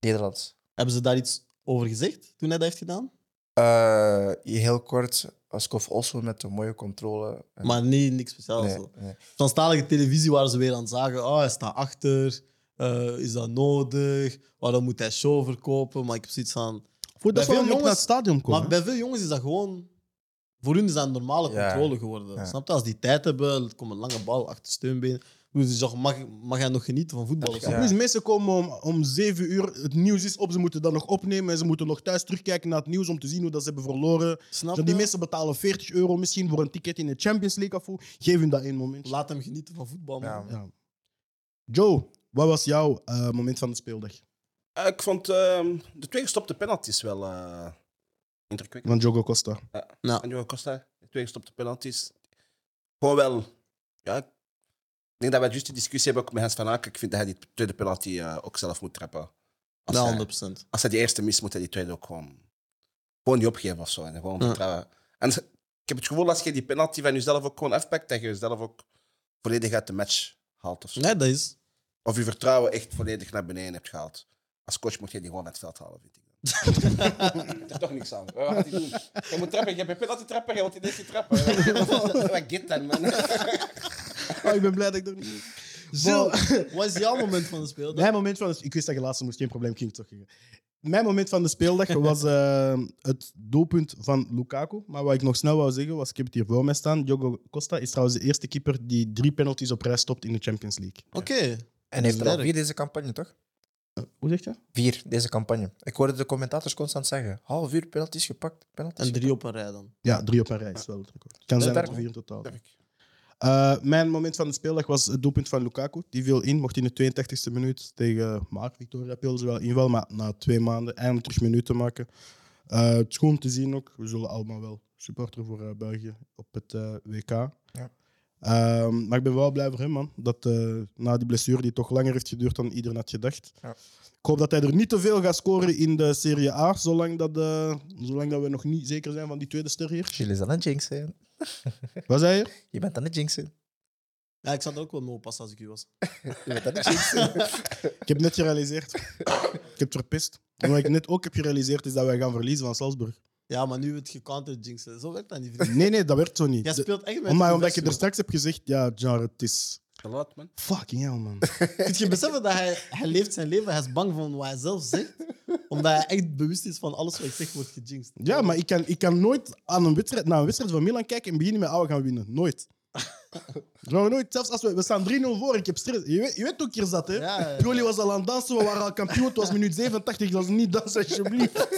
Speaker 5: Nederlands.
Speaker 1: Hebben ze daar iets over gezegd toen hij dat heeft gedaan?
Speaker 5: Eh, heel kort, Askof Oslo met een mooie controle. En-
Speaker 1: Maar nee, niks speciaals.
Speaker 5: nee,
Speaker 1: zo.
Speaker 5: nee.
Speaker 1: Franstalige televisie waren ze weer aan het zagen. Oh, hij staat achter. Eh, is dat nodig? Waarom moet hij show verkopen? Maar ik heb zoiets van... Bij
Speaker 2: Voor
Speaker 1: veel
Speaker 2: dat veel jongens naar
Speaker 1: jongens-
Speaker 2: het stadion komen.
Speaker 1: Maar bij veel jongens is dat gewoon... Voor hun is dat een normale
Speaker 5: Ja.
Speaker 1: controle geworden.
Speaker 5: Ja.
Speaker 1: Snap je? Als die tijd hebben, er komt een lange bal achter steunbeen. Dus toch mag, mag hij nog genieten van voetbal? of zo?
Speaker 5: Ja.
Speaker 2: Dus mensen komen om, om zeven uur, het nieuws is op, ze moeten dat nog opnemen en ze moeten nog thuis terugkijken naar het nieuws om te zien hoe dat ze hebben verloren.
Speaker 1: Snap
Speaker 2: Zo,
Speaker 1: je?
Speaker 2: die mensen betalen 40 euro misschien voor een ticket in de Champions League of hoe. Geef hun dat één moment.
Speaker 1: Laat hem genieten van voetbal, man.
Speaker 5: Ja, man.
Speaker 2: Ja. Joe, wat was jouw eh, moment van de speeldag?
Speaker 6: Eh, ik vond ehm, de twee gestopte penalties wel eh indrukwekkend.
Speaker 2: Van Jogo Costa.
Speaker 6: En Johan Costa, de twee gestopte penalties. Gewoon wel. Ja, ik denk dat wij juist die discussie hebben ook met Hans van Aken. Ik vind dat hij die tweede penalty eh, ook zelf moet trappen. Als,
Speaker 1: Ja,
Speaker 6: hij,
Speaker 1: 100%.
Speaker 6: als hij die eerste mist, moet hij die tweede ook gewoon, gewoon niet opgeven of zo. En gewoon
Speaker 1: Ja.
Speaker 6: vertrouwen. En ik heb het gevoel als je die penalty van jezelf ook gewoon afpakt, dat je jezelf ook volledig uit de match haalt of zo.
Speaker 1: Nee, dat is.
Speaker 6: Of je vertrouwen echt volledig naar beneden hebt gehaald. Als coach moet je die gewoon uit het veld halen, vind ik.
Speaker 1: *laughs*
Speaker 6: er is toch niks aan. Wat gaat hij doen? Hij moet trappen. Je bent penalty trapper. Hij wordt in deze trappen. *laughs* Wat get dan, man?
Speaker 2: Oh, ik ben blij dat ik er niet
Speaker 1: Zo, wat is jouw moment van de speeldag?
Speaker 2: Mijn moment van de, ik wist dat je laatste moest, geen probleem, ging toch zeggen. Mijn moment van de *laughs* speeldag was eh, het doelpunt van Lukaku. Maar wat ik nog snel wou zeggen was, ik heb het hier voor mij staan. Jogo Costa is trouwens de eerste keeper die drie penalties op rij stopt in de Champions League.
Speaker 1: Oké.
Speaker 5: En heeft er al
Speaker 1: werk.
Speaker 5: vier deze campagne, toch?
Speaker 2: Hoe zeg je?
Speaker 5: Vier deze campagne. Ik hoorde de commentators constant zeggen: half uur penalties gepakt. Penalties
Speaker 1: En drie op een rij dan.
Speaker 2: Ja, drie op een rij is wel het record. Kan zijn dat
Speaker 5: sterk,
Speaker 2: er
Speaker 5: hè?
Speaker 2: vier in totaal.
Speaker 6: Sterk.
Speaker 2: Eh, mijn moment van de speeldag was het doelpunt van Lukaku. Die viel in, mocht in de 82e minuut tegen Mark Victoria Pils wel inval, maar na twee maanden eindelijk terug minuten maken. Eh, het is goed om te zien ook. We zullen allemaal wel supporter voor eh, België op het eh, WK.
Speaker 5: Ja.
Speaker 2: Ehm, maar ik ben wel blij voor hem, man. Dat eh, na die blessure die toch langer heeft geduurd dan iedereen had gedacht.
Speaker 5: Ja.
Speaker 2: Ik hoop dat hij er niet te veel gaat scoren in de Serie A, zolang dat, eh, zolang dat we nog niet zeker zijn van die tweede ster hier.
Speaker 5: Jullie zijn aan het jinxen.
Speaker 2: Wat zei je?
Speaker 5: Je bent aan het jinxen.
Speaker 1: Ja, ik zou er ook wel mee oppassen als ik u was.
Speaker 5: Je bent aan het jinxen.
Speaker 2: Ik heb net gerealiseerd. ik heb verpest. En wat ik net ook heb gerealiseerd is dat wij gaan verliezen van Salzburg.
Speaker 1: Ja, maar nu het gecounterd
Speaker 2: *laughs*
Speaker 1: jinxen. Zo werkt dat niet, vriend.
Speaker 2: Nee, nee, dat werd zo niet.
Speaker 1: Jij
Speaker 2: De-
Speaker 1: speelt echt met...
Speaker 2: maar
Speaker 1: de
Speaker 2: omdat je er
Speaker 1: beste.
Speaker 2: straks hebt gezegd, ja, Jar, het is
Speaker 6: Geluid, man.
Speaker 2: Fucking hell, man.
Speaker 1: Kun je beseffen dat hij, hij leeft zijn leven, hij is bang van wat hij zelf
Speaker 2: *laughs*
Speaker 1: zegt, omdat hij echt bewust is van alles wat ik zeg wordt gejinxed.
Speaker 2: Ja, maar ik kan, ik kan nooit aan een wedstrijd, naar een wedstrijd van Milan kijken en beginnen met ouwe gaan winnen.
Speaker 1: *laughs*
Speaker 2: Nooit. Gewoon nooit. Zelfs als we, we staan 3-0 voor, ik heb stress. Je weet, je weet hoe ik hier zat, hè?
Speaker 1: Ja, ja.
Speaker 2: Pioli was al aan het dansen, we waren al kampioen. Het was minuut 87, dat is niet dansen,
Speaker 1: *laughs*
Speaker 2: alsjeblieft.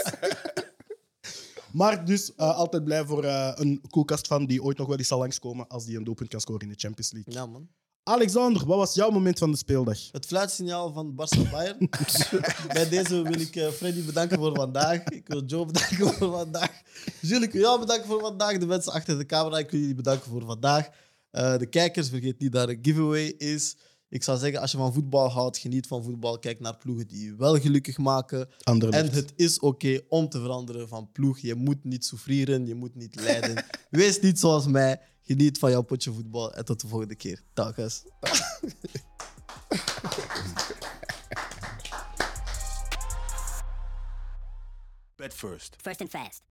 Speaker 2: maar dus eh, altijd blij voor eh, een koelkast van die ooit nog wel eens zal langskomen als die een doelpunt kan scoren in de Champions League.
Speaker 1: Ja, man.
Speaker 2: Alexander, wat was jouw moment van de speeldag?
Speaker 1: Dus Het fluitsignaal van Barca Bayern. Bij deze wil ik eh, Freddy bedanken voor vandaag. Ik wil Joe bedanken voor vandaag. Jules, ik wil jou bedanken voor vandaag. De mensen achter de camera, ik wil jullie bedanken voor vandaag. Eh, de kijkers, vergeet niet dat er een giveaway is. Ik zou zeggen, als je van voetbal houdt, geniet van voetbal. Kijk naar ploegen die je wel gelukkig maken.
Speaker 2: Anderlecht.
Speaker 1: En het is oké om te veranderen van ploeg. Je moet niet souffreren, je moet niet lijden. Wees niet zoals mij. Geniet van jouw potje voetbal en tot de volgende keer. Dag, guys.
Speaker 3: Bet first.
Speaker 4: First and fast.